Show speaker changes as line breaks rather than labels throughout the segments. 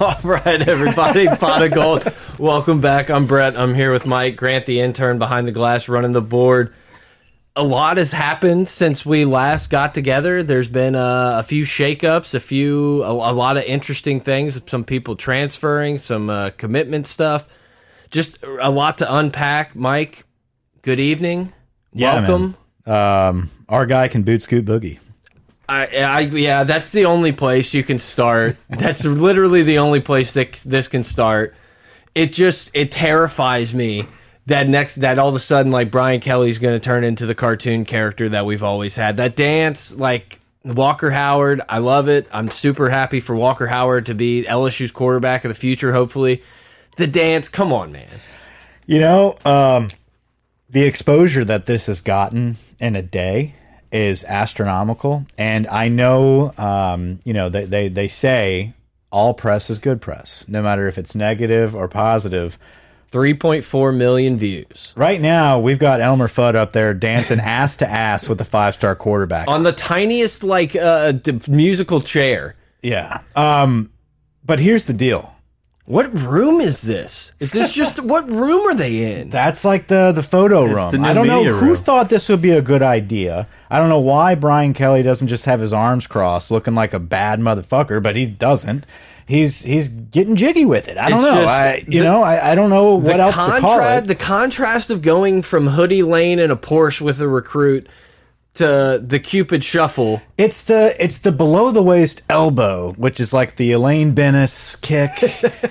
All right, everybody, pot of gold. Welcome back. I'm Brett. I'm here with Mike Grant, the intern behind the glass, running the board. A lot has happened since we last got together. There's been uh, a few shakeups, a few, a, a lot of interesting things. Some people transferring, some uh, commitment stuff. Just a lot to unpack. Mike, good evening.
Yeah, man.
Welcome.
Um, our guy can boot scoot boogie.
I, I, yeah, that's the only place you can start. That's literally the only place that c- this can start. It just it terrifies me that next that all of a sudden like Brian Kelly's going to turn into the cartoon character that we've always had. That dance like Walker Howard, I love it. I'm super happy for Walker Howard to be LSU's quarterback of the future hopefully. The dance, come on, man.
You know, um, the exposure that this has gotten in a day is astronomical. And I know, um, you know, they, they, they say all press is good press, no matter if it's negative or positive.
3.4 million views
Right now, we've got Elmer Fudd up there dancing ass to ass with a five star quarterback.
on the tiniest like uh d musical chair.
yeah. Um, but here's the deal.
What room is this? Is this just what room are they in?
That's like the the photo room.
the new
I don't know
media
who
room.
thought this would be a good idea. I don't know why Brian Kelly doesn't just have his arms crossed, looking like a bad motherfucker, but he doesn't. He's he's getting jiggy with it. I don't
It's
know.
just
I, you
the-
know, I, I don't know what else to call
contrast-
it.
The contrast of going from hoodie lane in a Porsche with a recruit to the Cupid shuffle.
It's the it's the below the waist elbow, which is like the Elaine Bennis kick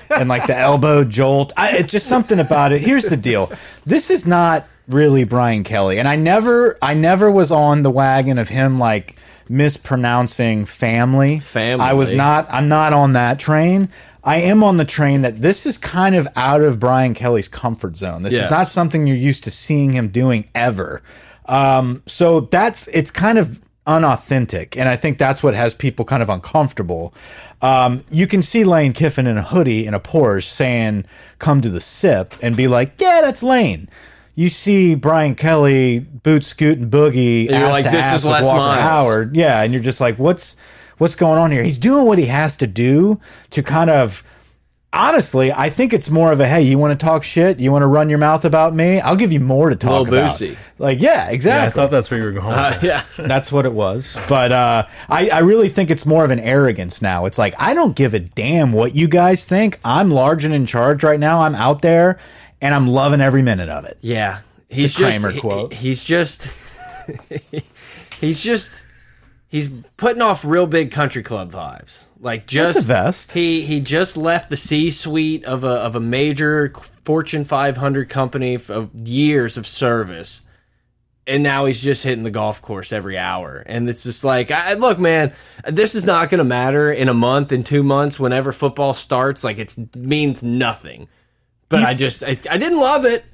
and like the elbow jolt. I, it's just something about it. Here's the deal: this is not really Brian Kelly, and I never I never was on the wagon of him like mispronouncing family.
Family.
I was not. I'm not on that train. I am on the train that this is kind of out of Brian Kelly's comfort zone. This
Yes.
is not something you're used to seeing him doing ever. Um, so that's it's kind of unauthentic, and I think that's what has people kind of uncomfortable. Um, you can see Lane Kiffin in a hoodie and a Porsche saying "Come to the sip" and be like, "Yeah, that's Lane." You see Brian Kelly boot scoot and boogie.
you're
ass
like,
to
"This
ass
is
with
Les
Walker
Miles."
Howard. Yeah, and you're just like, what's what's going on here? He's doing what he has to do to kind of honestly, I think it's more of a hey, you want to talk shit, you want to run your mouth about me, I'll give you more to talk
Lil
about.
Boosie.
Like, yeah,
Yeah, I
exactly.
thought that's where you were going. with that.
Yeah,
That's what it was. But uh, I, I really think it's more of an arrogance now. It's like, I don't give a damn what you guys think. I'm large and in charge right now. I'm out there and I'm loving every minute of it.
yeah. He's
It's a Kramer
just, he-
quote.
he's just. he's just. He's putting off real big country club vibes. Like just
a vest.
He he just left the C suite of a of a major Fortune 500 company f- of years of service. and now he's just hitting the golf course every hour. And it's just like, I, look, man, this is not going to matter in a month, in two months, whenever football starts. Like, it means nothing. But I just, I, I didn't love it.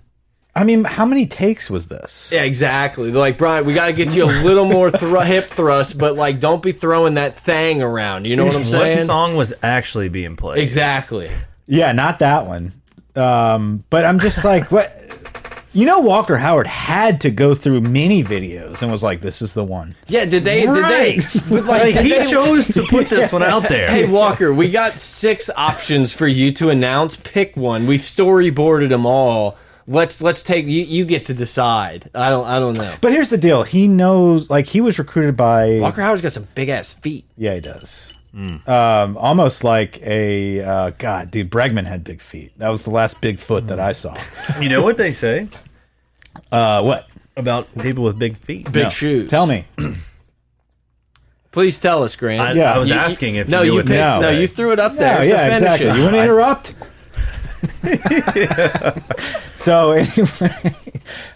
I mean, how many takes was this?
Yeah, exactly. They're like, Brian, we got to get you a little more thru hip thrust, but like, don't be throwing that thing around. You know what I'm
What
saying?
song was actually being played?
Exactly.
Yeah, not that one. Um, but I'm just like, what? You know, Walker Howard had to go through many videos and was like, "This is the one."
Yeah, did they?
Right.
Did they? But
Like
like, did
he
they-
chose to put this one out there.
Hey Walker, we got six options for you to announce. Pick one. We've storyboarded them all. Let's let's take you. You get to decide. I don't. I don't know.
But here's the deal: he knows, like, he was recruited by.
Walker Howard's got some big ass feet.
Yeah, he does. Um, almost like a uh, God, dude. Bregman had big feet. That was the last big foot that I saw.
You know what they say
Uh, what?
about people with big feet?
Big shoes.
Tell me.
Please tell us, Grant.
I,
Yeah.
I was
You- you-
asking if
no,
you, knew
you
what they
picked, no,
say.
you threw it up there.
Yeah,
It's a
yeah,
fetish.
exactly. You want to interrupt? so, anyway,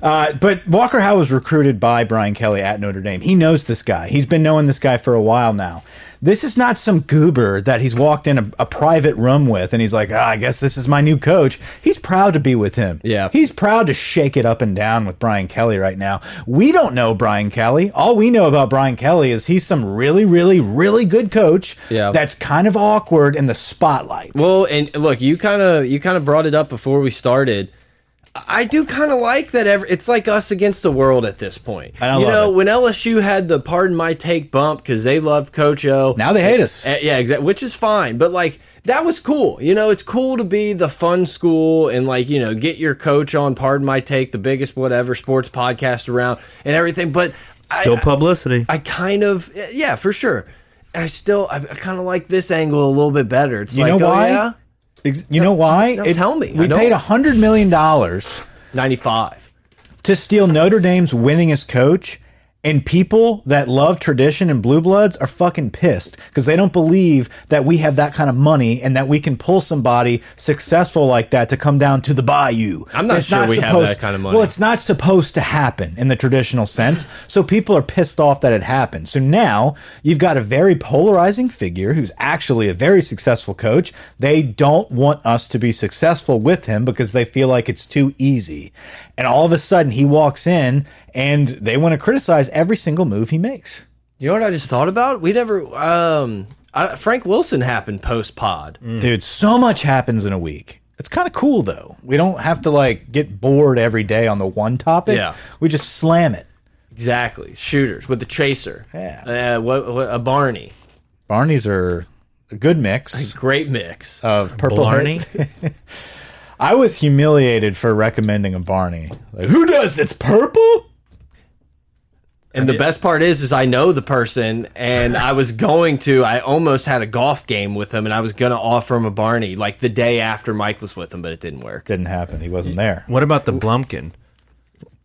uh, but Walker Howe was recruited by Brian Kelly at Notre Dame. He knows this guy. He's been knowing this guy for a while now. This is not some goober that he's walked in a, a private room with, and he's like, ah, I guess this is my new coach. He's proud to be with him.
Yeah.
he's proud to shake it up and down with Brian Kelly right now. We don't know Brian Kelly. All we know about Brian Kelly is he's some really, really, really good coach
Yeah.
that's kind of awkward in the spotlight.
Well, and look, you kind of you kind of brought it up before we started. I do kind of like that. Every, it's like us against the world at this point.
I
you
love
know,
it.
when LSU had the pardon my take bump because they loved Coach O. Eh,
Now they hate us.
Uh, yeah, exactly. Which is fine, but like that was cool. You know, it's cool to be the fun school and like, you know, get your coach on, pardon my take, the biggest whatever sports podcast around and everything. But
Still
I,
publicity.
I kind of, eh, yeah, for sure. And I still, I, I kind of like this angle a little bit better. It's
You
like,
know
oh,
why?
yeah,
Ex- You know why?
no, tell me. I
We
don't-
paid hundred million dollars
95.
to steal Notre Dame's winningest coach, and people that love tradition and blue bloods are fucking pissed because they don't believe that we have that kind of money and that we can pull somebody successful like that to come down to the bayou.
I'm not
It's
sure we have
supposed-
that kind of money.
Well, it's not supposed to happen in the traditional sense. So people are pissed off that it happened. So now you've got a very polarizing figure who's actually a very successful coach. They don't want us to be successful with him because they feel like it's too easy. And all of a sudden he walks in and they want to criticize every single move he makes.
You know what I just thought about? We never, um, I, Frank Wilson happened post pod.
Dude, so much happens in a week. It's kind of cool though. We don't have to like get bored every day on the one topic.
Yeah.
We just slam it.
Exactly. Shooters with the chaser.
Yeah.
Uh, what, what, a Barney.
Barney's are a good mix.
Great mix.
of purple
Blarney.
Hearts. I was humiliated for recommending a Barney. Like, who does it's purple?
And the best part is, is I know the person, and I was going to. I almost had a golf game with him, and I was going to offer him a Barney like the day after Mike was with him, but it didn't work.
Didn't happen. He wasn't there.
What about the Blumpkin?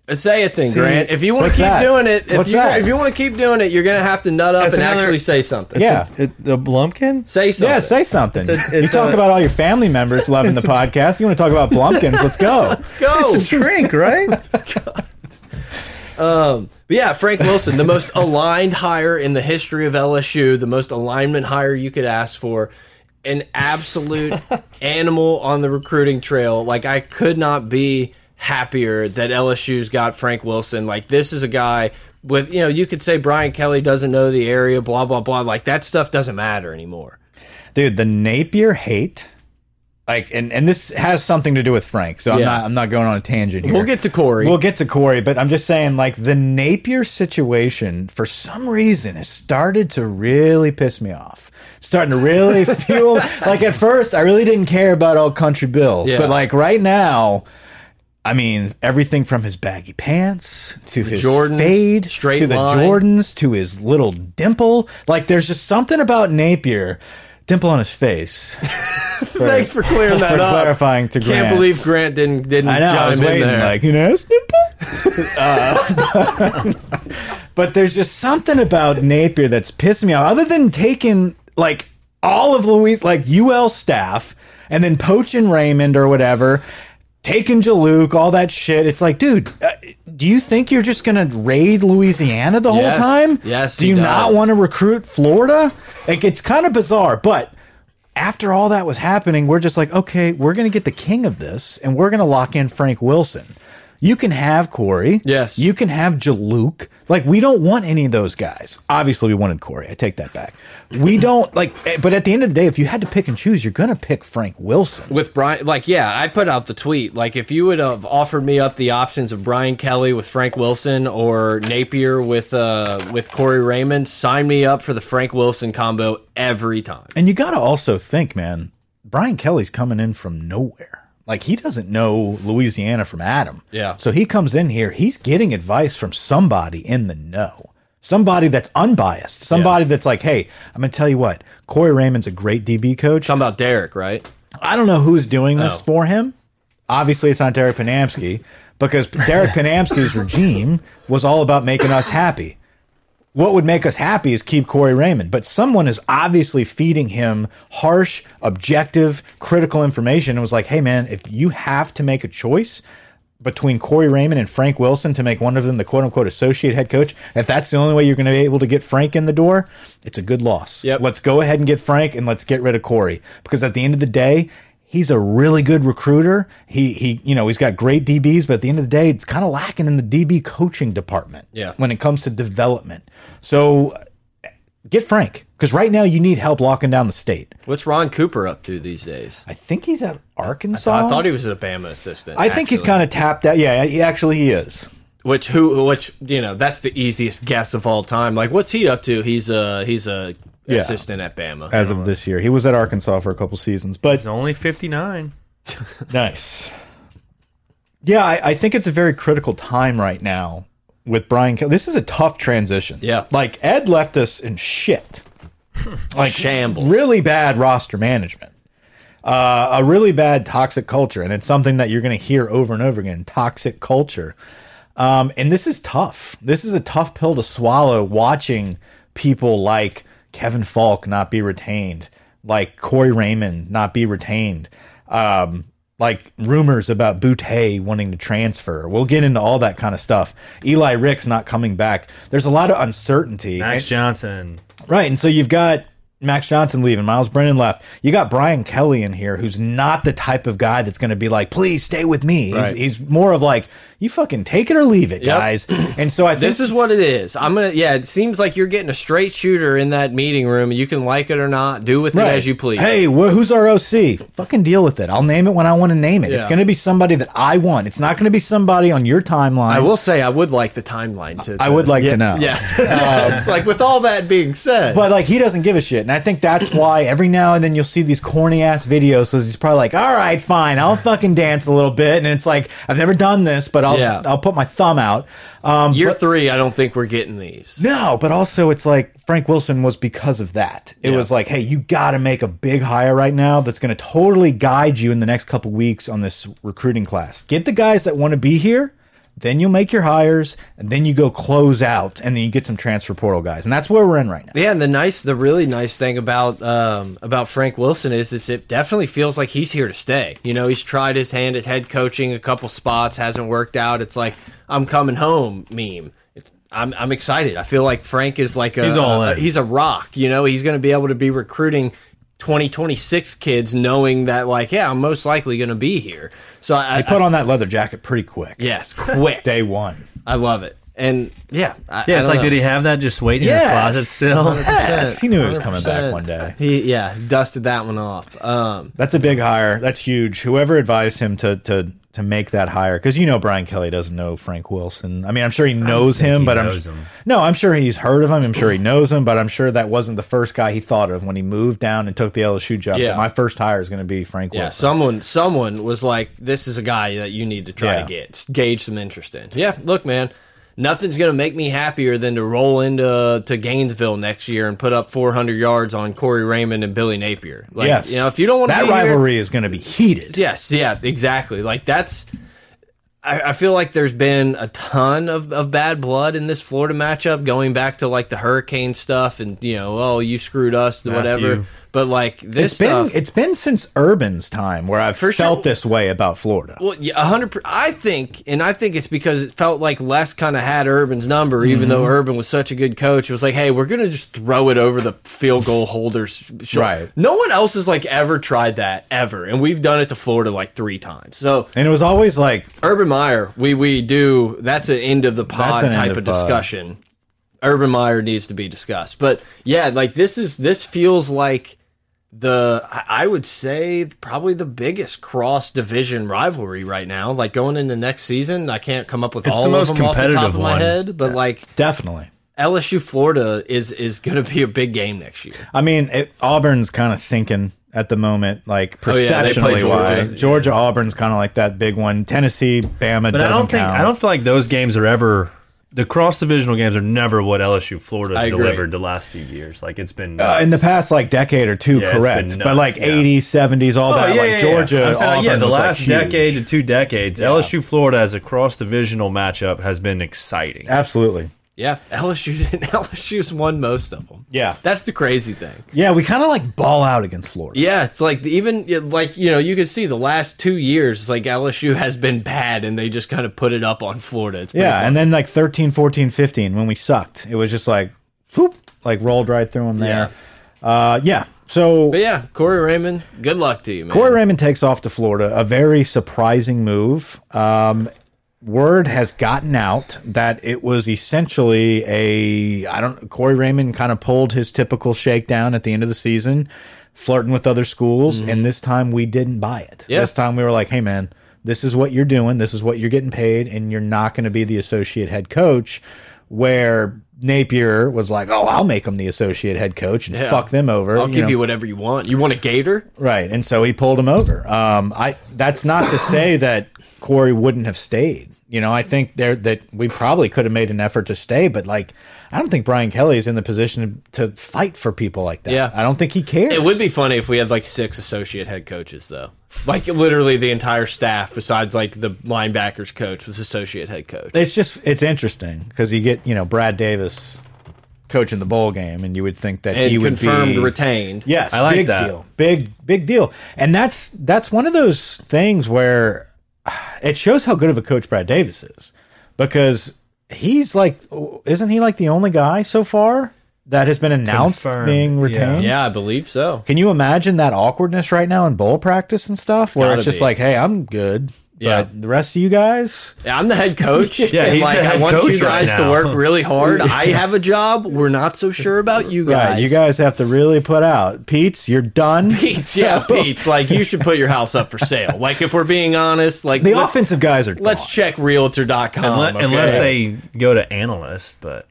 Uh, Say a thing, Grant. If you want to
what's
keep
that?
doing it, if
What's
you
that?
if you want to keep doing it, you're going to have to nut up
That's
and
another-
actually say something.
Yeah.
It, the Blumpkin?
Say something.
Yeah, say something.
It's a-
you
it's
talk
a-
about all your family members loving the podcast. You want to talk about Blumpkins? Let's go.
Go.
Drink, right?
But yeah, Frank Wilson, the most aligned hire in the history of LSU, the most alignment hire you could ask for, an absolute animal on the recruiting trail. Like I could not be happier that LSU's got Frank Wilson. Like this is a guy with you know, you could say Brian Kelly doesn't know the area, blah blah blah. Like that stuff doesn't matter anymore.
Dude, the Napier hate. Like and, and this has something to do with Frank, so I'm
Yeah.
not I'm not going on a tangent here.
We'll get to Corey.
We'll get to Corey, but I'm just saying, like, the Napier situation, for some reason, has started to really piss me off. Starting to really fuel. Like, at first, I really didn't care about old Country Bill.
Yeah.
But, like, right now, I mean, everything from his baggy pants to his
Jordans,
fade,
straight
to the
line.
Jordans, to his little dimple. Like, there's just something about Napier. Dimple on his face.
Thanks for clearing that
for
up.
clarifying to
Can't
Grant.
believe Grant didn't didn't
I know. I was
chime in
waiting,
there.
like you know, it's simple. uh, but there's just something about Napier that's pissed me off. Other than taking like all of Louise, like UL staff, and then poaching Raymond or whatever, taking Jaluke, all that shit. It's like, dude, uh, do you think you're just gonna raid Louisiana the
Yes.
whole time?
Yes,
Do
he
you
does.
not want to recruit Florida? Like, it's kind of bizarre, but after all that was happening, we're just like, okay, we're going to get the king of this and we're going to lock in Frank Wilson. You can have Corey.
Yes.
You can have Jaluk. Like, we don't want any of those guys. Obviously, we wanted Corey. I take that back. We don't, like, eh, but at the end of the day, if you had to pick and choose, you're going to pick Frank Wilson.
with Brian, like, yeah, I put out the tweet. Like, if you would have offered me up the options of Brian Kelly with Frank Wilson or Napier with uh with Corey Raymond, sign me up for the Frank Wilson combo every time.
And you got to also think, man, Brian Kelly's coming in from nowhere. Like, he doesn't know Louisiana from Adam.
Yeah.
So he comes in here, he's getting advice from somebody in the know, somebody that's unbiased, somebody that's like, hey, I'm going to tell you what, Corey Raymond's a great DB coach.
Talking about Derek, right?
I don't know who's doing this
Oh.
for him. Obviously, it's not Derek Panamsky because Derek Panamsky's regime was all about making us happy. What would make us happy is keep Corey Raymond, but someone is obviously feeding him harsh, objective, critical information and was like, hey, man, if you have to make a choice between Corey Raymond and Frank Wilson to make one of them the quote unquote associate head coach, if that's the only way you're going to be able to get Frank in the door, it's a good loss.
Yep.
Let's go ahead and get Frank and let's get rid of Corey because at the end of the day, he's a really good recruiter. He he you know, he's got great DBs, but at the end of the day, it's kind of lacking in the DB coaching department
Yeah.
when it comes to development. So uh, get Frank because right now you need help locking down the state.
What's Ron Cooper up to these days?
I think he's at Arkansas.
I thought he was an Alabama assistant.
Um, I think he's kind of tapped out. Yeah, he actually he is.
which who which you know that's the easiest guess of all time. Like, what's he up to? He's a he's a
Yeah.
assistant at Bama.
as of this year. He was at Arkansas for a couple seasons, but
He's only 59.
Nice. Yeah, I, I think it's a very critical time right now with Brian. Kelly. This is a tough transition.
Yeah.
Like, Ed left us in shit. like,
Shambles.
really bad roster management, uh, a really bad toxic culture. And it's something that you're going to hear over and over again toxic culture. Um, and this is tough. This is a tough pill to swallow watching people like Kevin Falk not be retained, like Corey Raymond not be retained, um, like rumors about Boutte wanting to transfer. We'll get into all that kind of stuff. Eli Ricks not coming back. There's a lot of uncertainty.
Max
And-
Johnson.
Right. And so you've got Max Johnson leaving, Miles Brennan left. You got Brian Kelly in here, who's not the type of guy that's going to be like, please stay with me.
Right.
He's, he's more of like, you fucking take it or leave it,
Yep.
guys. And so I think
This is what it is. I'm gonna. Yeah, it seems like you're getting a straight shooter in that meeting room. You can like it or not. Do with
Right.
it as you please.
Hey, wh who's our OC? Fucking deal with it. I'll name it when I want to name it. It's
Yeah.
going to be somebody that I want. It's not going to be somebody on your timeline.
I will say I would like the timeline to.
I would like to
Yeah,
know. Um,
Yes. Yes. Like with all that being said,
But like he doesn't give a shit, and I think that's why every now and then you'll see these corny ass videos. So he's probably like, "All right, fine, I'll fucking dance a little bit," and it's like, "I've never done this, but I'll
Yeah.
I'll put my thumb out." Um,
year three, I don't think we're getting these.
no, but also it's like Frank Wilson was because of that. It
Yeah.
was like, "Hey, you got to make a big hire right now that's going to totally guide you in the next couple weeks on this recruiting class. Get the guys that want to be here." Then you'll make your hires, and then you go close out, and then you get some transfer portal guys, and that's where we're in right now.
Yeah, and the nice, the really nice thing about um, about Frank Wilson is it's, it definitely feels like he's here to stay. You know, he's tried his hand at head coaching a couple spots, hasn't worked out. It's like I'm coming home meme. It's- I'm I'm excited. I feel like Frank is like a
He's all
a-
in.
he's a rock. You know, he's going to be able to be recruiting 2026 kids, knowing that like yeah, I'm most likely going to be here. So I, I
Put on that leather jacket pretty quick.
yes, quick.
day one.
I love it, and yeah, I,
Yeah,
I don't
it's like,
know.
did he have that just waiting in his closet still?
Yes, he knew he was coming back one day.
He yeah, dusted that one off. Um,
That's a big hire. That's huge. Whoever advised him to to to make that hire, because you know Brian Kelly doesn't know Frank Wilson. I mean, I'm sure he knows him,
he
but
knows
I'm
him.
no, I'm sure he's heard of him. I'm sure he knows him, but I'm sure that wasn't the first guy he thought of when he moved down and took the LSU job.
Yeah.
That my first hire is going to be Frank
yeah,
Wilson.
someone someone was like, "This is a guy that you need to try
Yeah.
to get gauge some interest in." Yeah, look, man, nothing's gonna make me happier than to roll into to Gainesville next year and put up 400 yards on Corey Raymond and Billy Napier. Like,
Yes.
you know, if you don't want to
that
be here-
rivalry is going to be heated.
Yes, yeah, exactly. Like that's. I, I feel like there's been a ton of, of bad blood in this Florida matchup, going back to like the hurricane stuff, and you know, oh, you screwed us, whatever. But like this
It's been
stuff,
it's been since Urban's time where I've
For sure.
felt this way about Florida.
well, yeah, a hundred. per- I think, and I think it's because it felt like Les kind of had Urban's number,
Mm-hmm.
even though Urban was such a good coach. It was like, hey, we're gonna just throw it over the field goal holders. shoulder.
Right.
No one else has like ever tried that ever, and we've done it to Florida like three times. So
And it was always like
Urban Meyer, we we do that's an end of the pod
That's an
type
end
of,
of pod.
discussion. Urban Meyer needs to be discussed. But yeah, like this is this feels like the I I would say probably the biggest cross division rivalry right now. Like going into next season, I can't come up with all
the most
of them off the top
competitive
of my
one.
head, but like
definitely.
LSU Florida is is going to be a big game next year.
I mean, it, Auburn's kind of sinking at the moment, like
Oh,
yeah, they play
perceptionally.
Georgia.
why
Yeah.
Georgia, Auburn's kind of like that big one. Tennessee, Bama.
But
doesn't
I don't think
count.
I don't feel like those games are ever the cross divisional games are never what LSU
I
Florida's
agree.
delivered the last few years. Like it's been
Uh,
nuts.
in the past, like decade or two,
Yeah, it's
correct,
been
but
nuts,
like
yeah.
80s, 70s, all
Oh,
that,
yeah,
like
yeah,
Georgia,
yeah. I'm saying, like,
Auburn
yeah, the
was, like,
last
huge.
decade to two decades, LSU Florida as a cross divisional matchup has been
Um,
exciting.
Absolutely,
Yeah, LSU LSU's won most of them.
Yeah.
That's the crazy thing.
yeah. We kind of like ball out against Florida.
Yeah, it's like the- even yeah, like you know you can see the last two years like LSU has been bad and they just kind of put it up on Florida. It's pretty
Yeah,
fun.
and then like 13, 14, 15, when we sucked, it was just like, whoop, like rolled right through them there. Uh, yeah. So
but yeah, Corey Raymond, good luck to you, man.
Corey Raymond takes off to Florida, a very surprising move. Um, word has gotten out that it was essentially a I don't Corey Raymond kind of pulled his typical shakedown at the end of the season, flirting with other schools, and this time we didn't buy it.
Mm-hmm. Yeah.
This time we were like, hey man, this is what you're doing, this is what you're getting paid, and you're not going to be the associate head coach. Where Napier was like, "Oh, I'll make him the associate head coach and
Yeah.
fuck them over."
I'll give
know.
you whatever you want. You want a gator?
Right, and so he pulled him over. Um, I that's not to say that Corey wouldn't have stayed. You know, I think there that we probably could have made an effort to stay, but like, I don't think Brian Kelly is in the position to fight for people like that.
Yeah.
I don't think he cares.
It would be funny if we had like six associate head coaches, though. Like literally the entire staff, besides like the linebackers coach, was associate head coach.
It's just it's interesting because you get you know Brad Davis coaching the bowl game, and you would think that
And
he would
confirmed
be
retained.
Yes,
I like
big
that.
deal. Big big deal. And that's that's one of those things where ah, it shows how good of a coach Brad Davis is because he's like isn't he like the only guy so far that has been announced
Confirmed,
being
yeah.
retained?
Yeah, I believe so.
Can you imagine that awkwardness right now in bowl practice and stuff where
gotta
it's just
be.
like, "Hey, I'm good."
Yeah.
But the rest of you guys,
Yeah, I'm the head coach.
Yeah,
and
he's
like
the head
I want you
coach right
guys to
now.
work really hard. I have a job. We're not so sure about you guys.
right, you guys have to really put out. Pete's, you're done.
Pete's, yeah, Pete's. Like you should put your house up for sale. Like if we're being honest, like
The
let's,
offensive guys are
let's
gone.
check realtor.com.
Unle-
okay?
Unless they go to analyst, but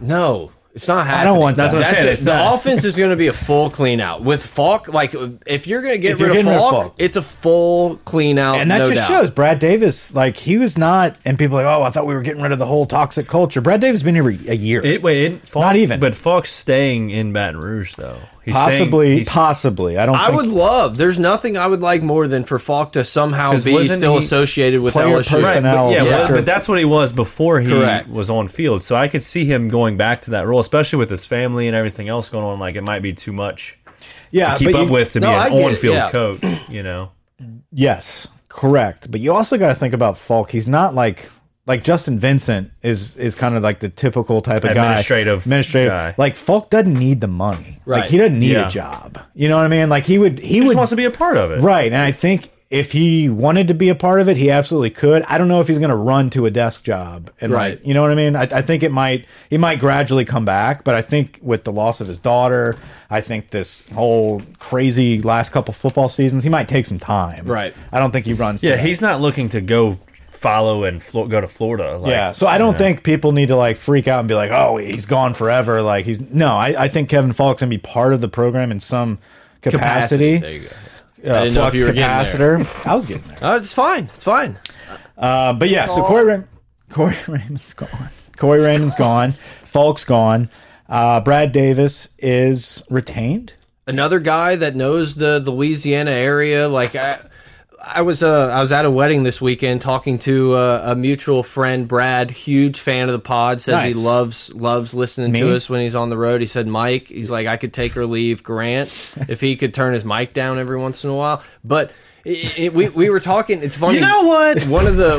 No, it's not happening.
don't want That's that.
what I'm saying,
it.
it's
the
not.
offense is going to be a full clean out with Falk. Like if you're going to get
If you're
rid of
getting rid of
Falk,
Falk.
it's a full clean out.
And that
no
just
doubt.
shows Brad Davis, like he was not, and people are like, oh, I thought we were getting rid of the whole toxic culture. Brad Davis has been here a year,
it, wait, it, Falk,
Not even.
But Falk's staying in Baton Rouge though. He's staying-
possibly,
he's-
possibly. I don't.
I
think
would love. There's nothing I would like more than for Falk to somehow
'Cause
be
wasn't
still
he
associated with
player
LSU.
personnel?
but, yeah,
yeah.
But, but that's what he was before he
Correct.
was on field. So I could see him going back to that role, especially with his family and everything else going on. Like it might be too much
yeah,
to keep
but
up
you-
with to
No, I
be
get
an
it,
on-field
yeah.
coach. You know,
Yes, correct. But you also got to think about Falk. He's not like like Justin Vincent is is kind of like the typical type of
Administrative
guy, administrative
guy.
Like Falk doesn't need the money.
Right.
Like he doesn't need
Yeah.
a job. You know what I mean? Like he would. He
he
would
just wants to be a part of it.
Right. And I think if he wanted to be a part of it, he absolutely could. I don't know if he's going to run to a desk job. And
Right.
Like, you know what I mean? I, I think it might, he might gradually come back. But I think with the loss of his daughter, I think this whole crazy last couple football seasons, he might take some time.
Right.
I don't think he runs. to
Yeah,
that.
he's not looking to go follow and flo go to Florida. Like,
yeah, so I don't think people need to like freak out and be like, "Oh, he's gone forever." Like he's no, I, I think Kevin Falk's gonna be part of the program in some capacity.
There you go. I didn't know if
flux
you were getting there.
capacitor. I was getting there.
Oh, it's fine. It's fine.
Uh, but yeah, so Corey, Ram Corey Raymond's gone. Corey Raymond's gone. Falk's gone. Uh, Brad Davis is retained.
another guy that knows the, the Louisiana area. Like I, I was uh, I was at a wedding this weekend talking to uh, a mutual friend, Brad, huge fan of the pod. Says
Nice.
he loves loves listening
Me?
to us when he's on the road. He said Mike. He's like I could take or leave Grant if he could turn his mic down every once in a while, but. It, it- we, we were talking. It's funny.
You know what?
One of the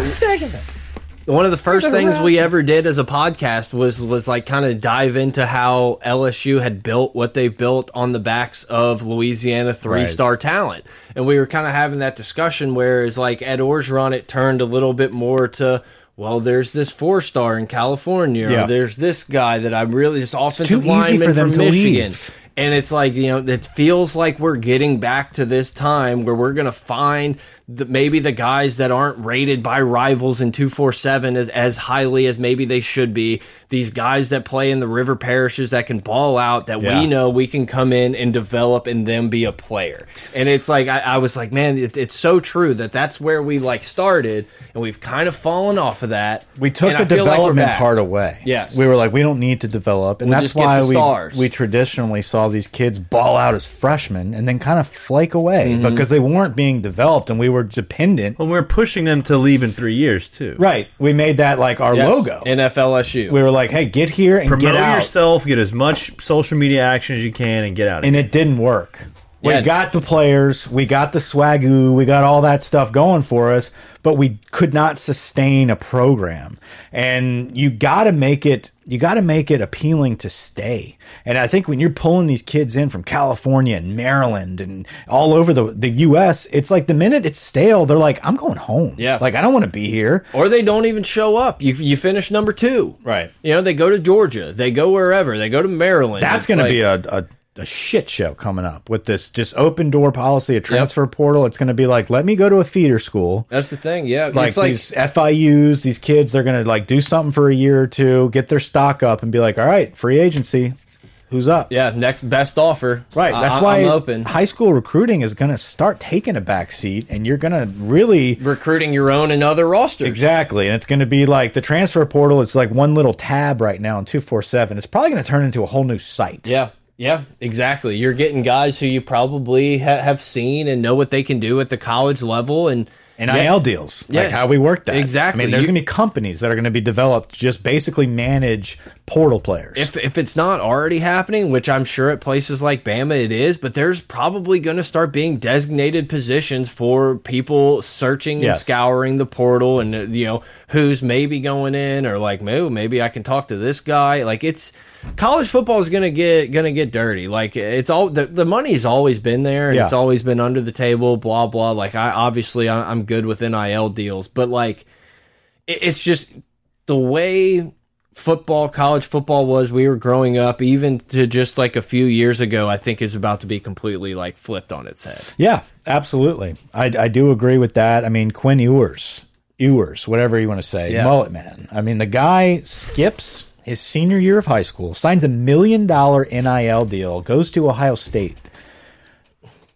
one of the first
Stupid
things we ever did as a podcast was was like kind of dive into how LSU had built what they built on the backs of Louisiana three star talent, and we were kind of having that discussion. Whereas like Ed Orgeron, it turned a little bit more to. Well, there's this four star in California.
Yeah.
Or there's this guy that I'm really this offensive
easy
lineman
for them
from
to
Michigan.
leave.
And it's like, you know, it feels like we're getting back to this time where we're going to find the, maybe the guys that aren't rated by rivals in 247 as, as highly as maybe they should be. These guys that play in the river parishes that can ball out, that
Yeah.
we know we can come in and develop and then be a player. And it's like, I, I was like, man, it, it's so true that that's where we like started and we've kind of fallen off of that.
We took
And I
the
feel like we're
development
back.
part away.
Yes.
we were like, we don't need to develop, and
We'll
that's
just get
why
the stars.
we we traditionally saw these kids ball out as freshmen and then kind of flake away
Mm-hmm.
because they weren't being developed, and we were dependent.
Well, we're pushing them to leave in three years too.
Right, we made that like our
Yes.
logo.
NFLSU.
we were like, hey, get here and
Promote
get out,
yourself, get as much social media action as you can, and get out.
and it didn't work. We
Yeah.
got the players, we got the swagoo, we got all that stuff going for us, but we could not sustain a program. And you got to make it you got to make it appealing to stay. And I think when you're pulling these kids in from California and Maryland and all over the the US, it's like the minute it's stale, they're like I'm going home.
Yeah.
Like I don't want to be here.
or they don't even show up. You you finish number two,
Right.
You know they go to Georgia, they go wherever, they go to Maryland.
That's
It's
going
like-
to be a, a a shit show coming up with this just open door policy, a transfer portal. It's going to be like, let me go to a theater school.
That's the thing. Yeah,
Like,
it's like
these FIUs, these kids, they're going to like do something for a year or two, get their stock up, and be like, all right, free agency, who's up?
yeah, next best offer.
Right. That's
I,
why
I'm open.
high school recruiting is going to start taking a back seat, and you're going to really
Recruiting your own and other rosters.
Exactly. And it's going to be like the transfer portal. It's like one little tab right now in 247. It's probably going to turn into a whole new site.
Yeah. Yeah, exactly. You're getting guys who you probably ha have seen and know what they can do at the college level, and
NIL deals,
Yeah.
like how we work that. I
Exactly.
mean, there's
You-
going to be companies that are going to be developed to just basically manage portal players.
if if it's not already happening, which I'm sure at places like Bama it is, but there's probably going to start being designated positions for people searching and
Yes.
scouring the portal, and uh, you know who's maybe going in, or like, maybe maybe I can talk to this guy. Like it's college football is going to get going to get dirty. Like it's all the the money's always been there, and
Yeah.
it's always been under the table. Blah blah. Like I obviously I, I'm good with nil deals, but like it- it's just the way football, college football was we were growing up, even to just like a few years ago, I think is about to be completely like flipped on its head.
yeah, absolutely. I, I do agree with that. I mean, Quinn Ewers, Ewers, whatever you want to say, mullet man. I mean, the guy skips his senior year of high school, signs a million dollar NIL deal, goes to Ohio State.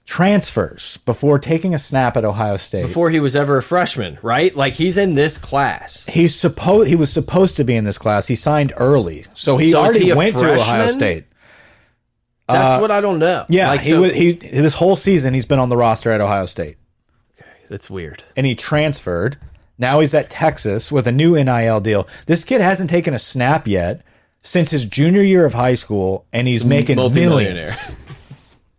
Transfers before taking a snap at Ohio State.
Before he was ever a freshman, right? Like he's in this class.
he's supposed he was supposed to be in this class. He signed early, so he
So is
already
he a
went to Ohio
freshman?
State.
That's what I don't know.
Uh, Yeah,
like,
he,
so,
wa- he this whole season he's been on the roster at Ohio State,
that's weird.
and he transferred. Now he's at Texas with a new NIL deal. This kid hasn't taken a snap yet since his junior year of high school, and he's making
Multimillionaire,
millions.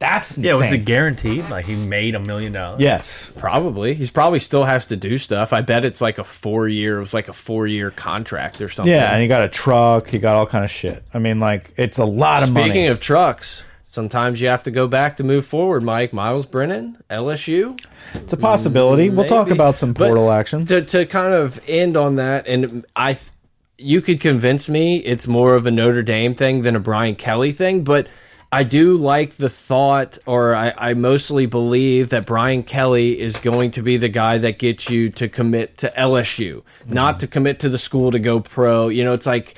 That's insane.
Yeah, was it guaranteed? Like he made a million dollars.
yes,
probably. He's probably still has to do stuff. I bet it's like a four year. It was like a four year contract or something.
yeah, and he got a truck. He got all kind of shit. I mean, like it's a lot of money.
Speaking of trucks, sometimes you have to go back to move forward. Mike Miles Brennan, LSU.
it's a possibility. We'll talk
Maybe.
about some
But
portal action.
To to kind of end on that, and I, th- you could convince me it's more of a Notre Dame thing than a Brian Kelly thing, but I do like the thought, or I, I mostly believe that Brian Kelly is going to be the guy that gets you to commit to LSU, not to commit to the school to go pro. You know, it's like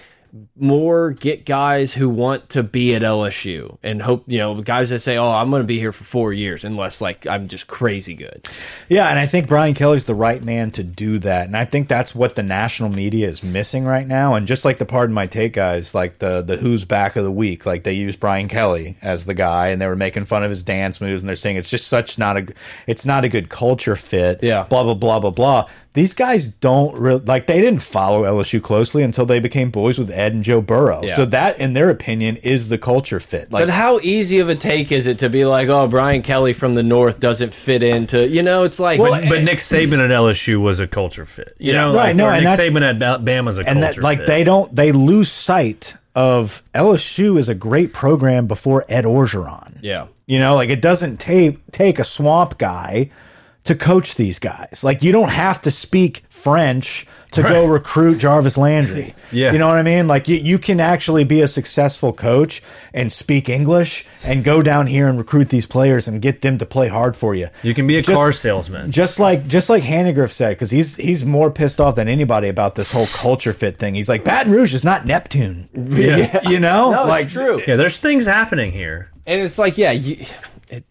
more get guys who want to be at LSU and hope, you know, guys that say, "Oh, I'm going to be here for 4 years unless like I'm just crazy good."
Yeah, and I think Brian Kelly's the right man to do that. And I think that's what the national media is missing right now. And just like the Pardon My Take guys, like the the Who's Back of the Week, like they use Brian Kelly as the guy and they were making fun of his dance moves and they're saying it's just such not a it's not a good culture fit.
Yeah.
Blah blah blah blah blah. These guys don't really like they didn't follow LSU closely until they became boys with Ed and Joe Burrow.
Yeah.
So that in their opinion is the culture fit. Like
But how easy of a take is it to be like, oh, Brian Kelly from the North doesn't fit into, you know, it's like,
But, but Nick Saban at LSU was a culture fit. You know,
Right,
like,
no,
or
and
Nick
that's-
Saban at Alabama's a
and
culture
that like
fit.
they don't they lose sight of LSU is a great program before Ed Orgeron.
yeah.
You know, like it doesn't take take a swamp guy to coach these guys. Like you don't have to speak French to go recruit Jarvis Landry.
Yeah.
You know what I mean? Like you, you can actually be a successful coach and speak English and go down here and recruit these players and get them to play hard for you.
you can be a
Just-
car salesman.
Just like just like Hannegriff said, because he's he's more pissed off than anybody about this whole culture fit thing. He's like Baton Rouge is not Neptune,
Yeah.
you know.
No,
like
it's true.
yeah, there's things happening here.
And it's like, yeah, you, it,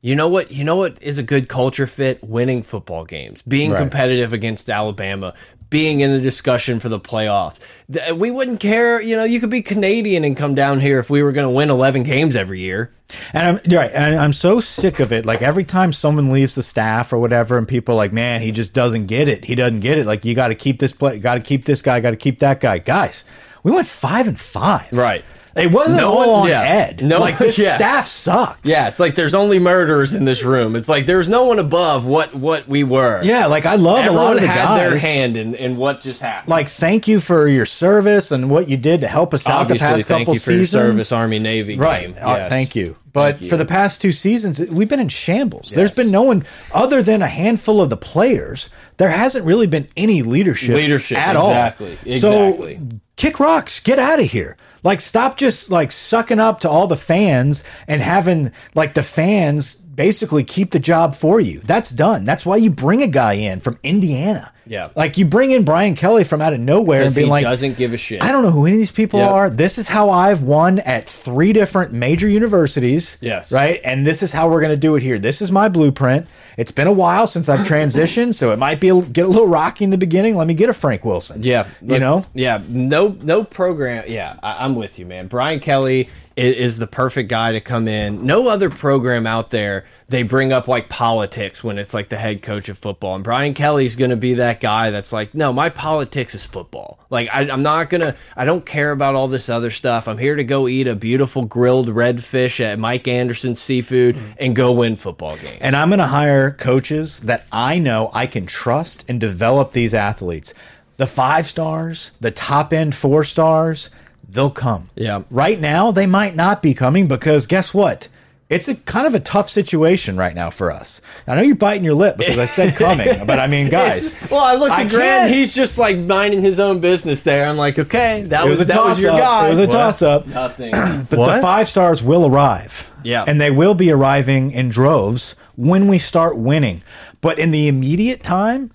you know what? You know what is a good culture fit? Winning football games, being
Right.
competitive against Alabama, being in the discussion for the playoffs. Th- We wouldn't care. You know, you could be Canadian and come down here if we were going to win 11 games every year.
and I'm you're right, and I'm so sick of it. Like every time someone leaves the staff or whatever, and people are like, man, he just doesn't get it. He doesn't get it. Like you got to keep this play, got to keep this guy, got to keep that guy. Guys, we went five and five.
Right.
It wasn't
No
all
one-
on
yeah.
Ed.
No-
like this
yeah.
staff sucked.
Yeah, it's like there's only murderers in this room. It's like there's no one above what what we were.
Yeah, like I love a
Everyone
lot of the
had
guys.
their hand in, in what just happened.
like thank you for your service and what you did to help us out the
obviously
past
thank
couple
you for
seasons.
your service army navy
Right.
game.
Uh,
Yes.
Thank you. But for the past two seasons, it- we've been in shambles. There's
Yes.
been no one other than a handful of the players. There hasn't really been any leadership,
Leadership,
at
exactly,
all. So
exactly.
kick rocks, get out of here. Like, stop just like sucking up to all the fans and having like the fans basically keep the job for you. That's done. That's why you bring a guy in from Indiana.
Yeah.
Like you bring in Brian Kelly from out of nowhere and
Because
be
he
like,
doesn't give a shit.
I don't know who any of these people
Yep.
are. This is how I've won at three different major universities.
Yes.
Right. And this is how we're going to do it here. This is my blueprint. It's been a while since I've transitioned, so it might be a, get a little rocky in the beginning. Let me get a Frank Wilson.
Yeah,
You
look-
know.
Yeah, no, no program. Yeah, I, I'm with you, man. Brian Kelly is, is the perfect guy to come in. No other program out there they bring up like politics when it's like the head coach of football, and Brian Kelly's going to be that guy that's like, no, my politics is football. Like I, I'm not gonna, I don't care about all this other stuff. I'm here to go eat a beautiful grilled redfish at Mike Anderson Seafood
Mm.
and go win football games.
And I'm going to hire coaches that I know I can trust and develop these athletes. The five stars, the top end four stars, they'll come.
Yeah.
Right now, they might not be coming because guess what? It's a kind of a tough situation right now for us. I know you're biting your lip because I said coming, but I mean, guys,
It's- well, I look
I
at Grant.
can't.
He's just like minding his own business there. I'm like, okay, that
it
was,
was a
that was
toss
your
up.
guy.
It was a
What?
toss up.
Nothing.
But the
What?
five stars will arrive.
Yeah.
And they will be arriving in droves when we start winning. But in the immediate time,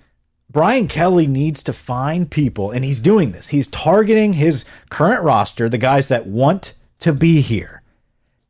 Brian Kelly needs to find people, and he's doing this. He's targeting his current roster, the guys that want to be here.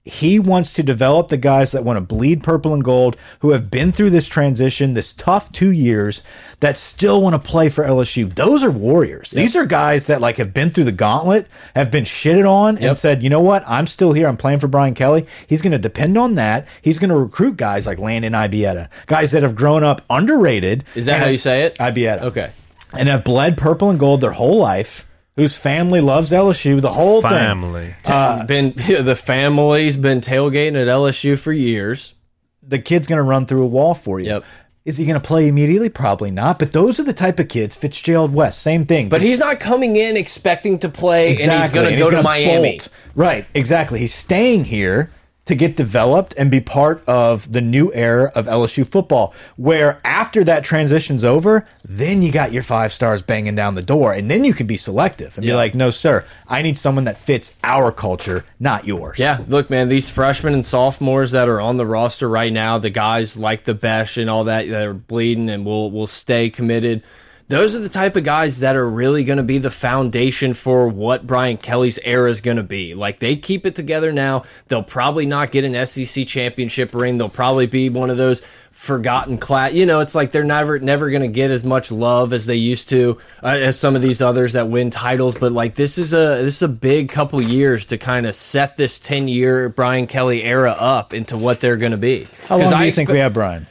He wants to develop the guys that want to bleed purple and gold, who have been through this transition, this tough two years, that still want to play for LSU. Those are warriors. These are guys that like have been through the gauntlet, have been shitted on, and said, you know what? I'm still here. I'm playing for Brian Kelly. He's going to depend on that. He's going to recruit guys like Landon Ibieta, guys that have grown up underrated.
Is that
and-
how you say it?
Ibieta
okay.
and have bled purple and gold their whole life, whose family loves LSU, the whole thing.
Family.
Uh, been the family's been tailgating at LSU for years.
The kid's going to run through a wall for you.
Yep.
Is he going to play immediately? Probably not. But those are the type of kids. Fitzgerald West, same thing.
But he's not coming in expecting to play, and he's going to
and
go to
gonna
Miami.
bolt. Right, exactly. He's staying here to get developed and be part of the new era of LSU football, where after that transition's over, then you got your five stars banging down the door, and then you can be selective and be like, no, sir, I need someone that fits our culture, not yours.
Yeah, look, man, these freshmen and sophomores that are on the roster right now, the guys like the Besh and all that that are bleeding and will will stay committed. Those are the type of guys that are really going to be the foundation for what Brian Kelly's era is going to be. Like they keep it together now, they'll probably not get an SEC championship ring. They'll probably be one of those forgotten class. You know, it's like they're never never going to get as much love as they used to uh, as some of these others that win titles. But like this is a this is a big couple years to kind of set this ten year Brian Kelly era up into what they're going to be.
How
'Cause
long do
I
you think
expect-
we have, Brian?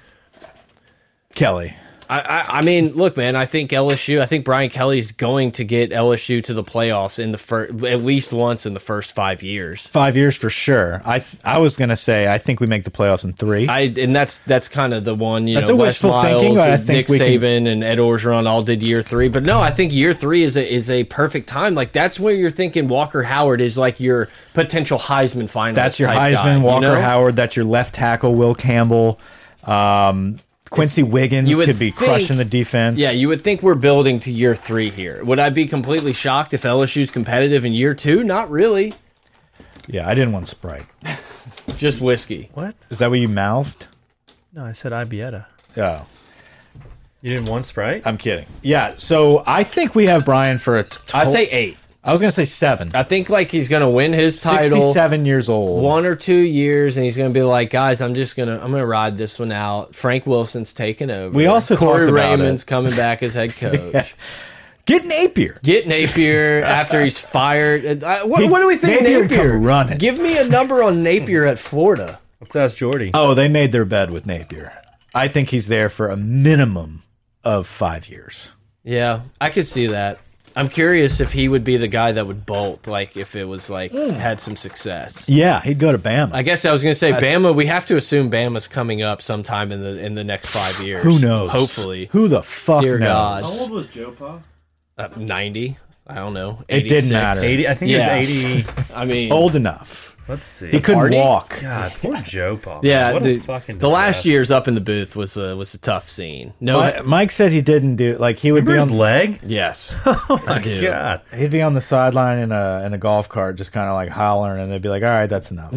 Kelly.
I, I, I mean, look, man. I think LSU. I think Brian Kelly's going to get LSU to the playoffs in the first, at least once in the first five years.
Five years for sure. I th I was gonna say I think we make the playoffs in three.
I and that's that's kind of the one you
That's
know.
a
Wes
wishful
Miles,
thinking, but I
and Nick
think we can-
Saban and Ed Orgeron all did year three. But no, I think year three is a is a perfect time. Like that's where you're thinking Walker Howard is like your potential Heisman finalist.
That's your
type
Heisman,
guy, you
Walker
know?
Howard. That's your left tackle, Will Campbell. Um, Quincy Wiggins
you would
could be
think-
crushing the defense.
Yeah, you would think we're building to year three here. Would I be completely shocked if LSU's competitive in year two? Not really.
yeah. I didn't want Sprite.
Just whiskey.
What?
Is that what you mouthed?
No, I said Ibieta.
Oh,
You didn't want Sprite?
I'm kidding. Yeah. So I think we have Brian for a.
I say eight.
I was gonna say seven.
I think like he's gonna win his title.
Sixty-seven years old.
one or two years and he's going to be like guys i'm just going to i'm going to ride this one out frank wilson's taking over
We also
Corey
talked about
raymond's coming back as head coach
Get Napier.
get napier after he's fired Uh, what,
He-
what do we think of
Napier
napier,
would come running.
give me a number on napier at florida
Let's ask Jordy.
Oh, they made their bed with Napier. I think he's there for a minimum of five years.
yeah i could see that i'm curious if he would be the guy that would bolt like if it was like had some success
Yeah, he'd go to Bama.
Hmm. I guess I was going to say Bama. We have to assume Bama's coming up sometime in the in the next five years.
Who knows?
Hopefully,
Who the fuck
dear
knows?
God.
was Joe Pa?
uh, 90 i don't know
It
86.
didn't matter. Oh,
80, I think
Yeah.
it's 80.
i mean
Old enough.
Let's see.
He couldn't
Party?
walk.
God, poor Joe Paul.
Yeah,
what
the,
a fucking
the last
disaster.
year's up in the booth was uh, was a tough scene. No,
Mi- Mike said he didn't do like he would
Remember his
be on
leg?
yes, I do.
God.
he'd be on the sideline in a in a golf cart just kind of like hollering and they'd be like all right that's enough.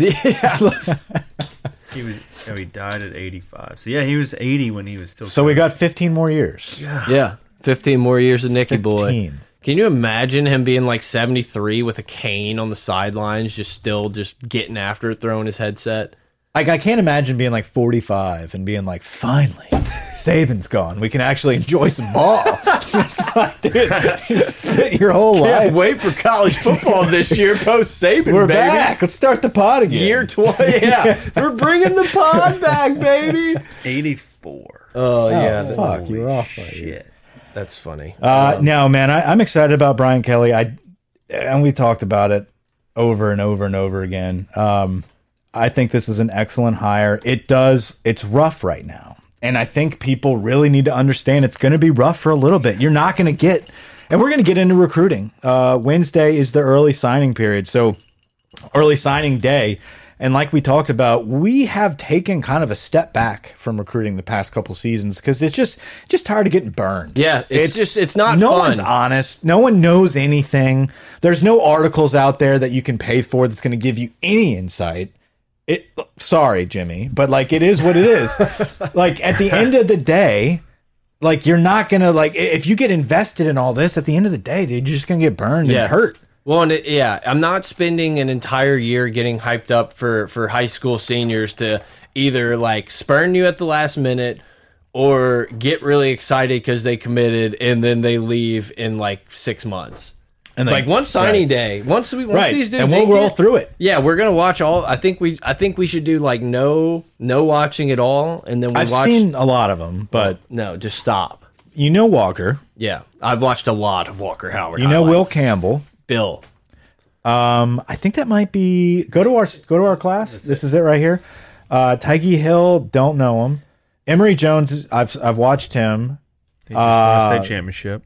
He was. Oh, he died at 85. So yeah, he was 80 when he was still.
So we got 15 more years.
Yeah, fifteen more years of Nicky boy.
15.
Can you imagine him being like seventy three with a cane on the sidelines, just still just getting after it, throwing his headset?
Like I can't imagine being like 45 and being like finally Saban's gone. We can actually enjoy some ball. it's like dude, you spent your whole life.
wait for college football this year, post Saban.
We're back. Let's start the pod again.
Year twenty, yeah. We're bringing the pod back, baby.
84.
Oh, yeah,
Oh,
that-
fuck, you're
Holy
off. by a year.
shit.
that's funny.
Uh, no, man, I, I'm excited about Brian Kelly. I and we talked about it over and over and over again. Um, I think this is an excellent hire. It does. It's rough right now, and I think people really need to understand it's going to be rough for a little bit. You're not going to get, and we're going to get into recruiting. Uh, Wednesday is the early signing period, so early signing day. And like we talked about, we have taken kind of a step back from recruiting the past couple seasons because it's just just tired of getting burned.
Yeah, it's just- it's not
no
fun.
one's honest. No one knows anything. There's no articles out there that you can pay for that's going to give you any insight. It sorry, Jimmy, but like it is what it is. like at the end of the day, like you're not gonna like i- if you get invested in all this. At the end of the day, dude, you're just gonna get burned
Yes.
and hurt.
Well, and it, yeah, I'm not spending an entire year getting hyped up for for high school seniors to either like spurn you at the last minute or get really excited because they committed and then they leave in like six months.
And
Like one signing day, once we once
Right.
these dudes
And we'll
ink
roll through it.
Yeah, we're gonna watch all. I think we I think we should do like no no watching at all, and then we
I've
watch
seen a lot of them, but
no just stop.
you know Walker,
Yeah, I've watched a lot of Walker Howard.
you know Will
highlights.
Campbell.
Bill.
Um, I think that might be go to our go to our class. this is it right here. Uh, Tyke Hill, don't know him. Emory Jones, I've I've watched him.
He just won
Uh,
a state championship.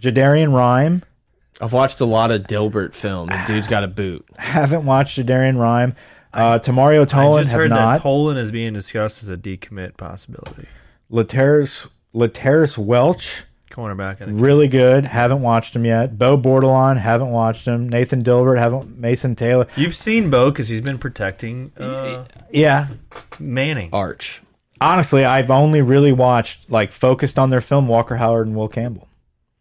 Jadarian Rhyme,
I've watched a lot of Dilbert film. and dude's got a boot.
haven't watched Jadarian Rhyme. Uh, Tamario
I
Tolan
just
have
heard that
not.
Tolan is being discussed as a decommit possibility.
Lateris Lateris Welch,
Cornerback. And
really good. Haven't watched him yet. Bo Bordelon, haven't watched him. Nathan Dilbert, haven't. Mason Taylor,
You've seen Bo because he's been protecting uh,
yeah.
Manning.
Arch.
honestly, I've only really watched like focused on their film Walker Howard and Will Campbell.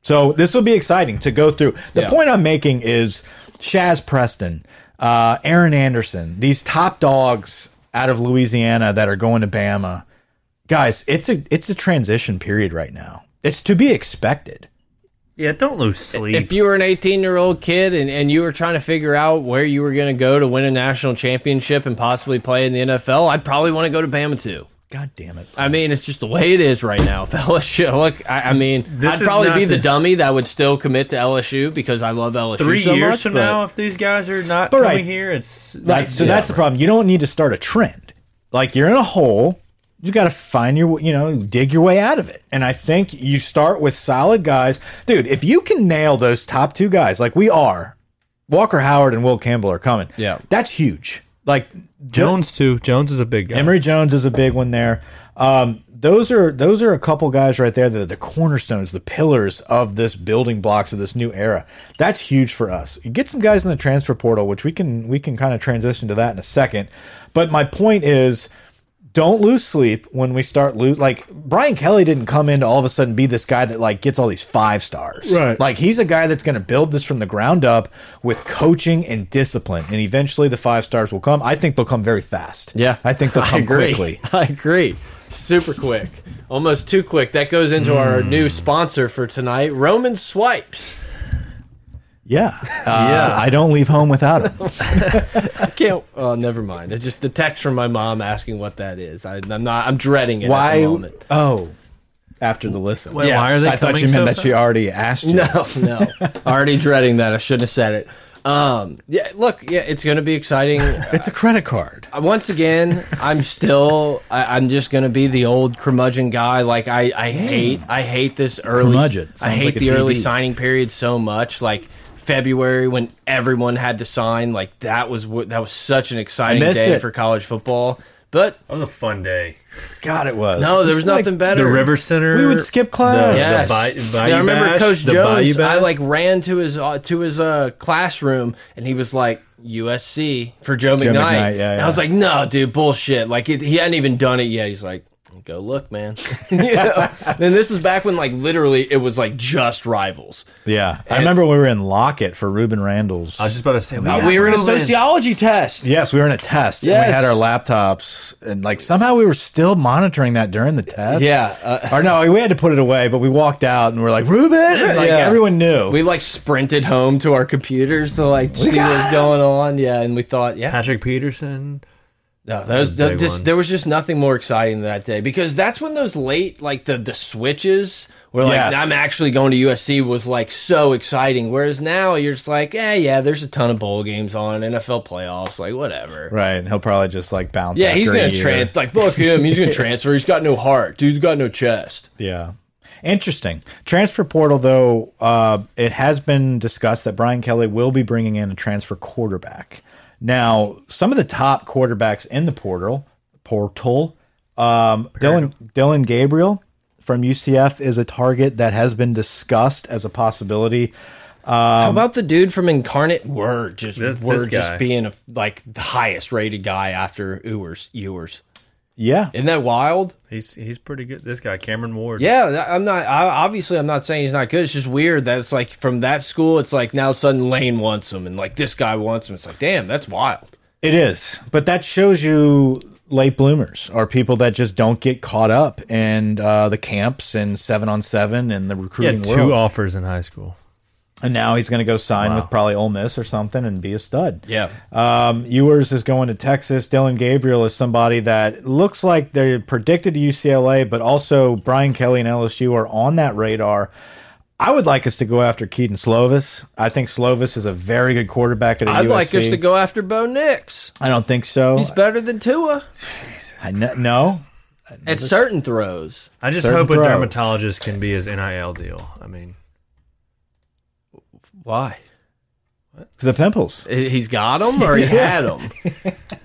So this will be exciting to go through. The
Yeah.
point I'm making is Shaz Preston, uh, Aaron Anderson, these top dogs out of Louisiana that are going to Bama. Guys, it's a it's a transition period right now. It's to be expected.
Yeah, don't lose sleep.
If you were an 18 year old kid and, and you were trying to figure out where you were going to go to win a national championship and possibly play in the NFL, I'd probably want to go to Bama too.
God damn it.
I mean, it's just the way it is right now, if LSU. Look, I, I mean,
This
I'd
is
probably
not
be the,
the-
dummy that would still commit to LSU because I love LSU.
Three
so
years
much,
from
but-
now, if these guys are not
But
coming
right.
here, it's
Right. So
Yeah.
that's the problem. You don't need to start a trend. Like you're in a hole. You got to find your, you know, dig your way out of it. And I think you start with solid guys. Dude, if you can nail those top two guys, like we are, Walker Howard and Will Campbell are coming.
Yeah.
That's huge. Like
Jones too. Jones is a big guy.
Emory Jones is a big one there. Um, those are those are a couple guys right there that are the cornerstones, the pillars of this building blocks of this new era. That's huge for us. Get some guys in the transfer portal, which we can we can kind of transition to that in a second. But my point is, don't lose sleep when we start lose. Like Brian Kelly didn't come in to all of a sudden be this guy that like gets all these five stars.
Right.
Like he's a guy that's going to build this from the ground up with coaching and discipline, and eventually the five stars will come. I think they'll come very fast.
Yeah,
I think they'll come
agree.
quickly.
I agree. Super quick, almost too quick. That goes into our
Mm.
new sponsor for tonight, Roman Swipes.
Yeah, uh, yeah. I don't leave home without him.
I can't. Oh, never mind. It's just the text from my mom asking what that is. I, I'm not. I'm dreading it. At the
Why?
moment.
Oh, after the listen.
Wait, why are they
I thought
coming
you meant
so
that she already asked you.
No, no. Already dreading that. I shouldn't have said it. Um. Yeah. Look. Yeah. It's gonna be exciting.
It's a credit card.
Uh, Once again, I'm still. I, I'm just gonna be the old curmudgeon guy. Like I. I hate. I hate this early.
Curmudgeon.
I
Sounds
hate
like a
the early
TV.
signing period so much. Like. February when everyone had to sign. Like that was wh- that was such an exciting
miss
day
it.
for college football. But
That was a fun day.
God, it was.
no, there was
It's like-
nothing better.
The River Center.
We would skip class.
The,
Yes.
the Bay- Bayou
Yeah, I remember
Bash,
Coach
the Bayou
Jones.
Bash.
I like ran to his uh, to his uh, classroom, and he was like USC for Joe, McKnight.
McKnight, yeah,
And
yeah.
I was like, no, dude, bullshit. Like it, he hadn't even done it yet. He's like, go look, man. you know? Then this was back when like literally it was like just rivals.
Yeah, I remember we were in Lockett for Ruben Randall's.
I was just about to say we, got
Uh, we were in a
Ruben.
sociology test.
yes, we were in a test. and
Yes.
we had our laptops, and like somehow we were still monitoring that during the test.
Yeah, uh,
or no, we had to put it away, but we walked out and we're like Ruben, and, like
Yeah.
everyone knew.
we like sprinted home to our computers to like see what was going on. Yeah, and we thought, yeah,
Patrick Peterson.
No, those,
That was
the,
day
just,
one.
there was just nothing more exciting that day because that's when those late, like the the switches were like,
Yes.
I'm actually going to USC was like so exciting. Whereas now you're just like, yeah, yeah, there's a ton of bowl games on NFL playoffs, like whatever.
right, and he'll probably just like bounce.
Yeah, he's
after a
gonna
year.
trans like fuck him. He's gonna transfer. He's got no heart. Dude's got no chest.
Yeah. Interesting. Transfer portal, though, uh, it has been discussed that Brian Kelly will be bringing in a transfer quarterback. Now, some of the top quarterbacks in the portal, portal, um, Dylan Dylan Gabriel from UCF is a target that has been discussed as a possibility.
How about the dude from Incarnate Word? Just
Um, This-
Word
this guy.
just being a like the highest rated guy after Ewers. Ewers.
Yeah,
Isn't that wild?
He's he's pretty good. This guy Cameron Ward.
Yeah, that- I'm not. I, obviously, I'm not saying he's not good. It's just weird that it's like from that school, it's like now sudden Lane wants him, and like this guy wants him. It's like, damn, that's wild.
It is, but that shows you late bloomers are people that just don't get caught up in uh, the camps and seven on seven and the
He
recruiting
had
world.
two offers in high school.
And now he's going to go sign with probably Ole Miss or something and be a stud.
Yeah,
Um, Ewers is going to Texas. Dylan Gabriel is somebody that looks like they're predicted to UCLA, but also Brian Kelly and LSU are on that radar. I would like us to go after Keaton Slovis. I think Slovis is a very good quarterback at a
I'd
USC.
like us to go after Bo Nix.
I don't think so.
He's better than Tua
I kn- no,
at certain throws.
I just
Certain
hope
throws.
a dermatologist can be his NIL deal. I mean,
Why?
the pimples.
He's got him or he had him.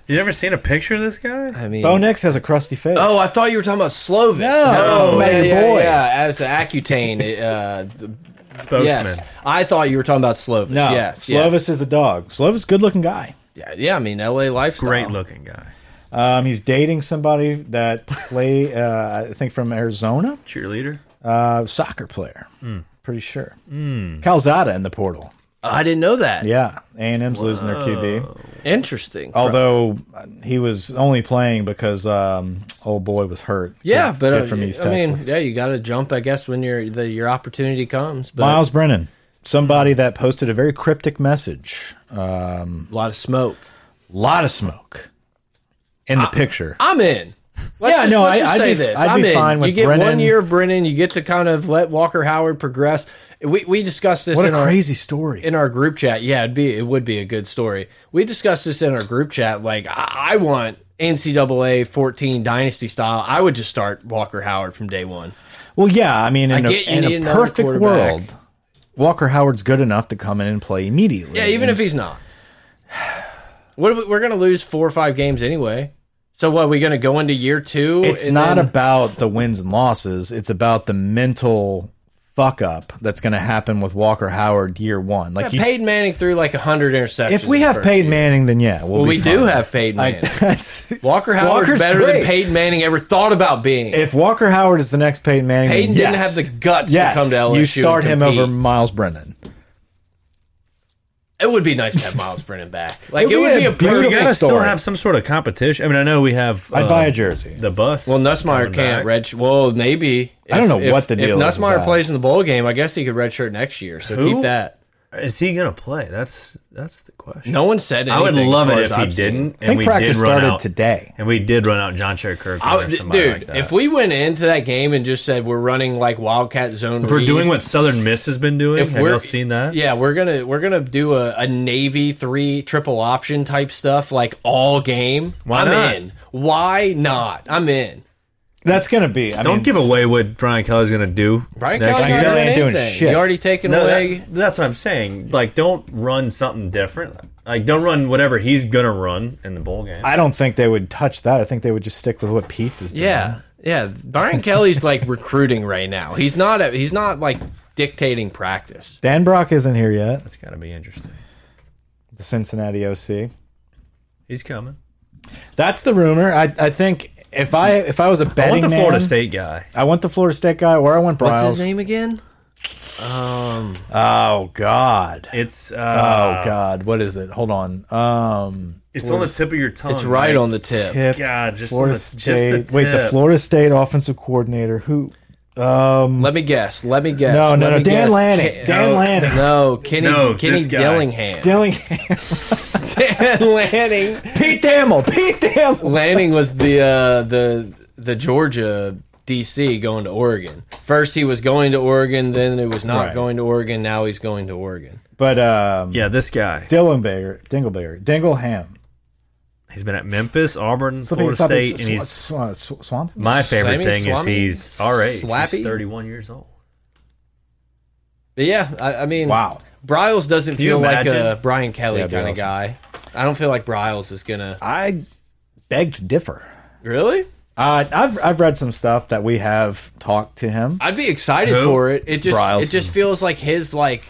you ever seen a picture of this guy?
I mean,
Bo Nix has a crusty face.
Oh, I thought you were talking about Slovis.
No,
oh, yeah,
man, your
yeah,
boy.
yeah. As an Accutane, uh, the-
Spokesman.
yes. I thought you were talking about Slovis.
no.
yes,
Slovis
yes.
is a dog. Slovis, good looking guy.
Yeah, yeah. I mean, L.A. lifestyle.
Great looking guy.
Um, he's dating somebody that play, uh, I think, from Arizona,
Cheerleader.
uh, soccer player. Pretty sure. Calzada in the portal.
I didn't know that.
Yeah, A and M's losing their QB.
Interesting.
Although uh, he was only playing because um, old boy was hurt.
Yeah,
Kid-
but
kid
uh,
from East
I mean,
Texas.
yeah, you got to jump, I guess, when your the, your opportunity comes. But Hmm.
Miles Brennan, somebody that posted a very cryptic message. Um,
a lot of smoke.
lot of smoke in the picture.
I'm in. Let's
Yeah,
just,
no,
let's
I-
just
I'd
say
be-
this.
I'd
am
be
in.
fine with
you get
Brennan.
one year of Brennan. You get to kind of let Walker Howard progress. We we discussed this
What a
in our
crazy story.
in our group chat. Yeah, it'd be it would be a good story. We discussed this in our group chat. Like I, I want NCAA 14 dynasty style. I would just start Walker Howard from day one.
Well, yeah, I mean, in
I
a
get you need
in a
another
perfect
quarterback.
world, Walker Howard's good enough to come in and play immediately.
Yeah, even if he's not. What are we, we're going to lose four or five games anyway. So what? Are we going to go into year two?
it's
and
not
then-
about the wins and losses. It's about the mental fuck up that's going to happen with Walker Howard year one. Like you,
Peyton Manning threw like hundred interceptions.
if we have
first
Peyton
year.
Manning, then yeah,
well,
we'll be
we do
fine.
have Peyton
Like,
Manning.
that's-
Walker Howard's
Walker's
better
great.
than Peyton Manning ever thought about being.
If Walker Howard is the next Peyton Manning, then
Peyton didn't
yes.
have the guts to
Yes,
come to
You
LSU and
start him over
compete.
Miles Brennan.
it would be nice to have Miles Brennan back. Like
It'd
it,
be
would
a
be a
beautiful-
We
perfect.
gotta still
story.
have some sort of competition. I mean, I know we have.
I'd
uh,
buy a jersey.
The bus.
Well, Nussmeyer
coming
can't
back.
red. Well, maybe.
I don't
If-
know
if-
what the deal
If
is with
Nussmeyer
that.
plays in the bowl game, I guess he could redshirt next year. So
Who?
keep that.
Is he gonna play? That's that's the question.
No one said anything.
I would
as
love
far
it
as
if he
I've seen.
didn't.
I
And
think
we
practice
did run
started
out,
today.
and we did run out John Cherry Kirk
I
or
would-
somebody
dude,
like that.
if we went into that game and just said we're running like Wildcat zone,
If we're
read,
doing what Southern Miss has been doing,
If
have
we're-
y'all seen that?
yeah, we're gonna we're gonna do a, a Navy three triple option type stuff like all game.
Why
I'm
not?
in. Why not? I'm in.
That's gonna be. I
Don't
mean,
give away what Brian Kelly's gonna do.
Brian
next
Kelly's
year.
not
Kelly
doing
ain't doing
anything.
shit.
You already taken
No,
away.
that- that's what I'm saying. Like, don't run something different. Like, don't run whatever he's gonna run in the bowl game.
I don't think they would touch that. I think they would just stick with what Pete's is doing.
yeah, yeah. Brian Kelly's like recruiting right now. He's not. A, he's not like dictating practice.
Dan Brock isn't here yet.
That's gotta be interesting.
The Cincinnati OC.
He's coming.
That's the rumor. I, I think if I if I was a
I
betting
want the Florida
man,
State guy.
I want the Florida State guy, or I want Bryles.
What's his name again?
Oh God.
It's uh,
Oh God. What is it? Hold on. Um.
it's on the tip of your tongue.
It's right on the tip.
Tip,
God, just
Florida
on the- just the
State. Wait, the
tip.
Florida State offensive coordinator. Who?
Let me guess. Let me guess.
No,
Let
no, no.
me
Dan
guess.
Lanning.
Ki-
Dan
No.
Lanning.
No, Kenny.
No,
Kenny
this guy.
Dillingham.
Dillingham.
Dan Lanning.
Pete Thamel. Pete Thamel.
Lanning was the uh, the the Georgia DC going to Oregon. First he was going to Oregon, then it was not
Right.
going to Oregon. Now he's going to Oregon.
But um.
Yeah, this guy.
Dillenberger. Dingleberger. Dingleham.
He's been at Memphis, Auburn,
Something-
Florida
something-
State, and
Swa-
he's
Swa- Swa- Swanson.
my favorite
Slamming,
thing is
slamming,
he's all right.
slappy?
He's 31 years old.
But yeah, I, I mean,
Wow.
Bryles doesn't
you
feel like a
imagine?
Brian Kelly
That'd be
kind of
awesome.
guy. I don't feel like Bryles is gonna
I beg to differ.
really.
Uh, I've I've read some stuff that we have talked to him.
I'd be excited
Who?
for it. It just
Bryles.
it just feels like his like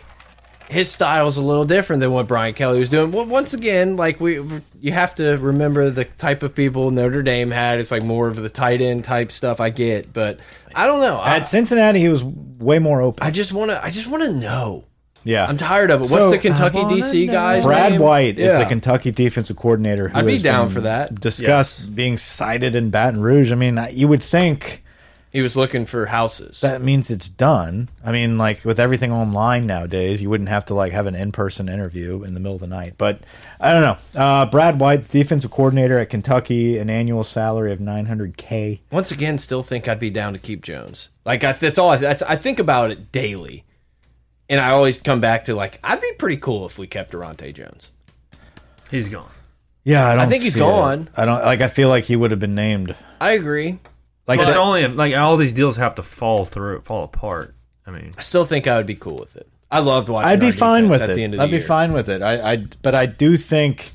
his style's a little different than what Brian Kelly was doing. Well, once again, like we you have to remember the type of people Notre Dame had. It's like more of the tight end type stuff. I get, but I don't know. I,
At Cincinnati, he was way more open.
I just want to. I just want to know.
yeah,
I'm tired of it. What's
So-
the Kentucky
I wanna
DC
know.
guy's
Brad
name?
White is the
Yeah.
Kentucky defensive coordinator. Who
I'd be
has
down
been
for that.
Discussed being cited in Baton Rouge. I mean, I- you would think
He was looking for houses.
that means it's done. I mean, like with everything online nowadays, you wouldn't have to like have an in-person interview in the middle of the night. But I don't know. Uh, Brad White, defensive coordinator at Kentucky, an annual salary of 900k.
once again, still think I'd be down to keep Jones. Like I, that's all. I, that's I think about it daily, and I always come back to like I'd be pretty cool if we kept Durante Jones.
He's gone.
Yeah, I don't.
think he's
see it.
gone.
I don't like. I feel like he would have been named.
I agree.
Like
It's
that-
only like all these deals have to fall through, fall apart. I mean,
I still think I would be cool with it. I loved watching.
I'd be
our
fine
defense
with
at
it.
The end of
I'd
the
be
year.
fine with it. I, I, but I do think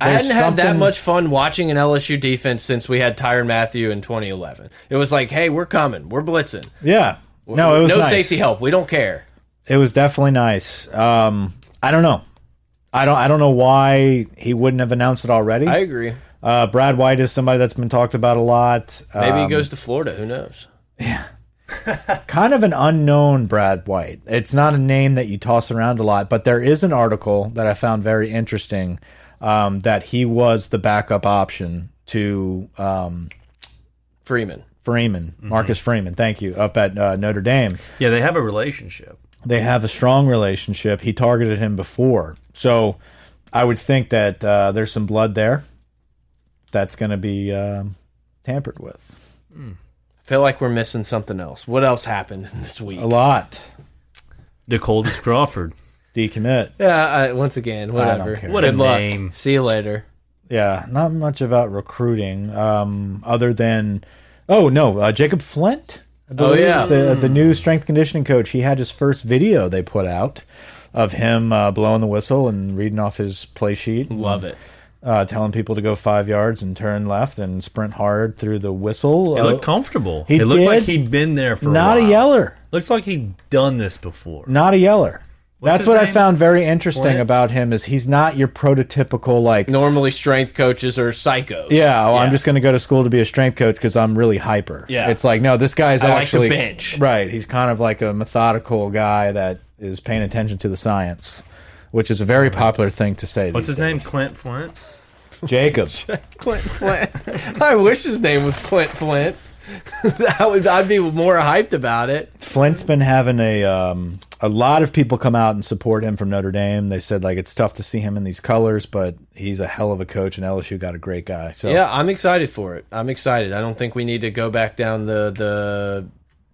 I hadn't
There's
had that
something-
much fun watching an LSU defense since we had Tyron Matthew in 2011. It was like, hey, we're coming, we're blitzing,
Yeah. No, it was
no
nice.
safety help, we don't care.
It was definitely nice. Um, I don't know. I don't. I don't know why he wouldn't have announced it already.
I agree.
uh, Brad White is somebody that's been talked about a lot. Uh,
Maybe he goes to Florida. Who knows?
kind of an unknown Brad White. It's not a name that you toss around a lot, but there is an article that I found very interesting um, that he was the backup option to um,
Freeman.
Freeman, Marcus Freeman. Thank you. Up at uh, Notre Dame.
yeah, they have a relationship.
they have a strong relationship. He targeted him before, so I would think that uh, there's some blood there that's going to be um, tampered with
I feel like we're missing something else. What else happened this week?
a lot.
The coldest Crawford.
Decommit,
Yeah, I, once again,
don't
whatever.
care.
What
Good
a
luck.
name.
See you later.
yeah. Not much about recruiting, um, other than oh no, uh, Jacob Flint. I
Oh,
believe,
yeah.
is the, the
Hmm.
new strength conditioning coach. He had his first video they put out of him uh, blowing the whistle and reading off his play sheet.
Love it.
uh, telling people to go five yards and turn left and sprint hard through the whistle.
He
Uh,
looked comfortable.
He
He it looked
did.
like he'd been there for
not
a,
a,
while.
yeller,
Looks like he'd done this before.
not a yeller. That's
his
what I
name?
found very interesting
Flint?
about him is he's not your prototypical like.
Normally, strength coaches are psychos.
Yeah, well, I'm just going to go to school to be a strength coach because I'm really hyper.
Yeah.
it's like no, this guy's
I like to
actually
bench.
Right, he's kind of like a methodical guy that is paying attention to the science, which is a very popular thing to say.
What's
these
his name? Clint Flint.
days. Jacob.
Clint Flint. I wish his name was Clint Flint. that would I'd be more hyped about it.
Flint's been having a um, a lot of people come out and support him from Notre Dame. They said like it's tough to see him in these colors, but he's a hell of a coach, and LSU got a great guy. So
Yeah, I'm excited for it. I'm excited. I don't think we need to go back down the the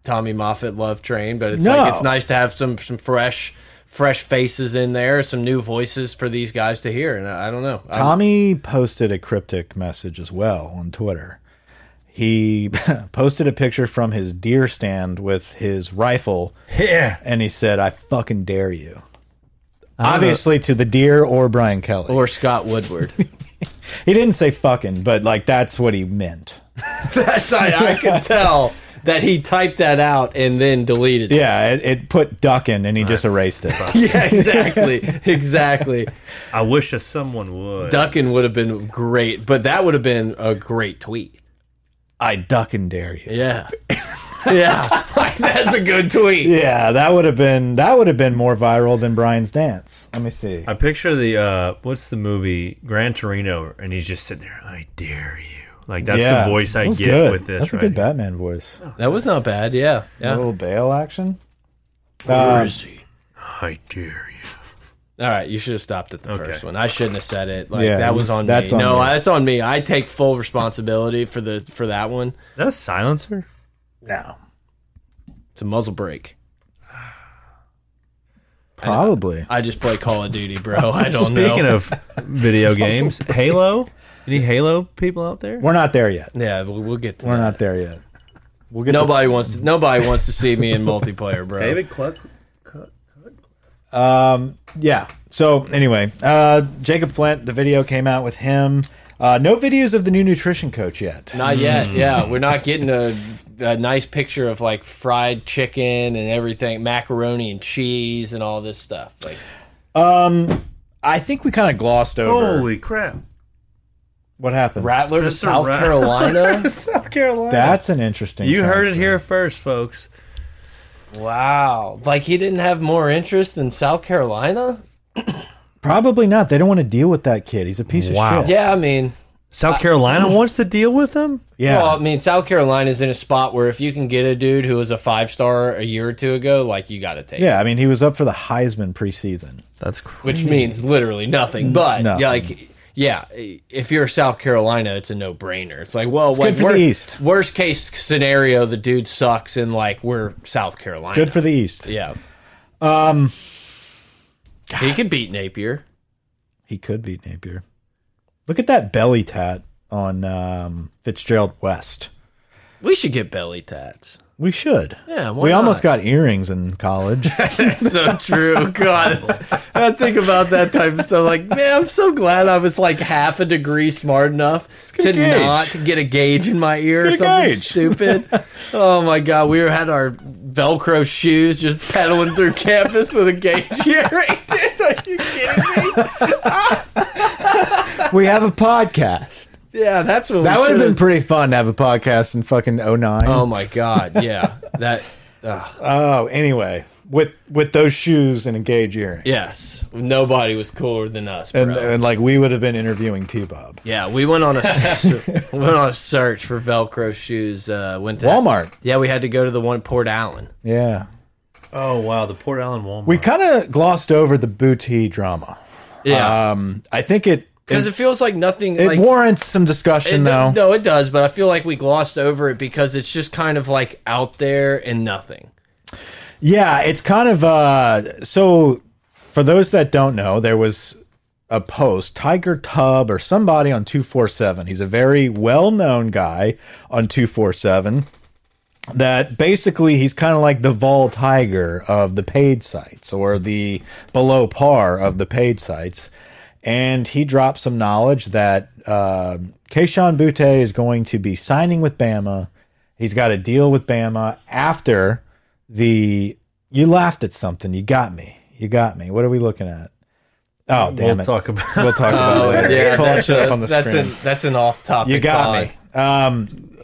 Tommy Moffat love train, but it's
No.
like it's nice to have some some fresh fresh faces in there, some new voices for these guys to hear. And I, I don't know. I'm-
Tommy posted a cryptic message as well on Twitter. he posted a picture from his deer stand with his rifle
Yeah.
and he said, I fucking dare you. Obviously, to the deer or Brian Kelly.
or Scott Woodward.
he didn't say fucking, but like that's what he meant.
That's I, I could tell that he typed that out and then deleted. it.
Yeah, it, it put duck in and he just erased it.
yeah exactly, exactly.
I wish that someone would.
Duckin would have been great, but that would have been a great tweet.
I duck and dare you.
Yeah, yeah, like, that's a good tweet.
Yeah, that would have been that would have been more viral than Brian's dance. Let me see.
I picture the uh, what's the movie Gran Torino, and he's just sitting there. I dare you. Like that's
yeah,
the voice I
that was
get
good.
with this.
That's
right
a good Batman voice.
That was not bad. Yeah, yeah.
little bail action. Uh,
I dare you.
All right, you should have stopped at the
Okay.
first one. I shouldn't have said it. Like
Yeah,
that was on
that's
me.
on
no,
you.
that's on me. I take full responsibility for the for that one.
Is that a silencer?
No,
It's a muzzle break.
probably.
I just play Call of Duty, bro. I don't know.
Speaking of video games, Halo. Any Halo people out there?
We're not there yet.
yeah, we'll, we'll get to
We're
that.
not there yet. We'll get
Nobody wants to, nobody wants to see me in multiplayer, bro.
Cluck.
um, yeah. So anyway, uh, Jacob Flint, the video came out with him. Uh, no videos of the new nutrition coach yet.
Not yet. Yeah, we're not getting a, a nice picture of like fried chicken and everything, macaroni and cheese and all this stuff. Like
Um, I think we kind of glossed over
Holy crap!
what happened.
Rattler to
Spencer
South
Rat-
Carolina.
South Carolina.
That's an interesting.
you heard it
transfer.
here first, folks.
wow. Like he didn't have more interest in South Carolina?
Probably not. They don't want to deal with that kid. He's a piece of
Wow.
shit.
Yeah, I mean,
South Carolina wants to deal with them.
Yeah.
Well, I mean, South Carolina's in a spot where if you can get a dude who was a five star a year or two ago, like you got to take. it.
yeah. I mean, he was up for the Heisman preseason.
That's crazy.
Which means literally nothing. But
Mm. Nothing.
yeah, like, yeah, if you're South Carolina, it's a no brainer. It's like, well, like,
good for the East.
worst case scenario, the dude sucks, and like we're South Carolina.
Good for the East.
yeah. Um, he could beat Napier.
He could beat Napier. Look at that belly tat on um, Fitzgerald West.
We should get belly tats.
We should.
Yeah, why
we
not?
almost got earrings in college.
so true. God, it's- I think about that type of stuff. Like, man, I'm so glad I was like half a degree smart enough
get
to
a gauge.
not to get a gauge in my ear or
Let's get a
something
gauge.
stupid. oh my God, we had our Velcro shoes just pedaling through campus with a gauge earring. Dude, are you kidding me?
we have a podcast.
Yeah, that's what
That
we
would have been
should've-
pretty fun to have a podcast in fucking 09.
Oh my God, yeah, that. Uh,
oh, anyway, with with those shoes and a gauge earring.
yes, nobody was cooler than us, bro.
And, and like we would have been interviewing T Bob.
Yeah, we went on a we went on a search for Velcro shoes. Uh, went to
Walmart.
Yeah, we had to go to the one at Port Allen.
Yeah.
Oh wow, the Port Allen Walmart.
We kind of glossed over the booty drama.
Yeah,
Um, I think it
because
it,
it feels like nothing.
it
like,
warrants some
it-
discussion though.
no, it does, but I feel like we glossed over it because it's just kind of like out there and nothing.
Yeah, it's kind of uh so for those that don't know, there was a post, Tiger Tubb or somebody on 247. He's a very well-known guy on 247 that basically he's kind of like the vol tiger of the paid sites or the below par of the paid sites. And he dropped some knowledge that uh, Keishon Butte is going to be signing with Bama. He's got a deal with Bama after the. You laughed at something. You got me. You got me. What are we looking at? Oh, damn
we'll
it.
talk about.
We'll talk about it later. He's pulling
that's
shit up
a-
on the
that's
screen.
An, that's an off-topic.
You got
pod.
me. Um,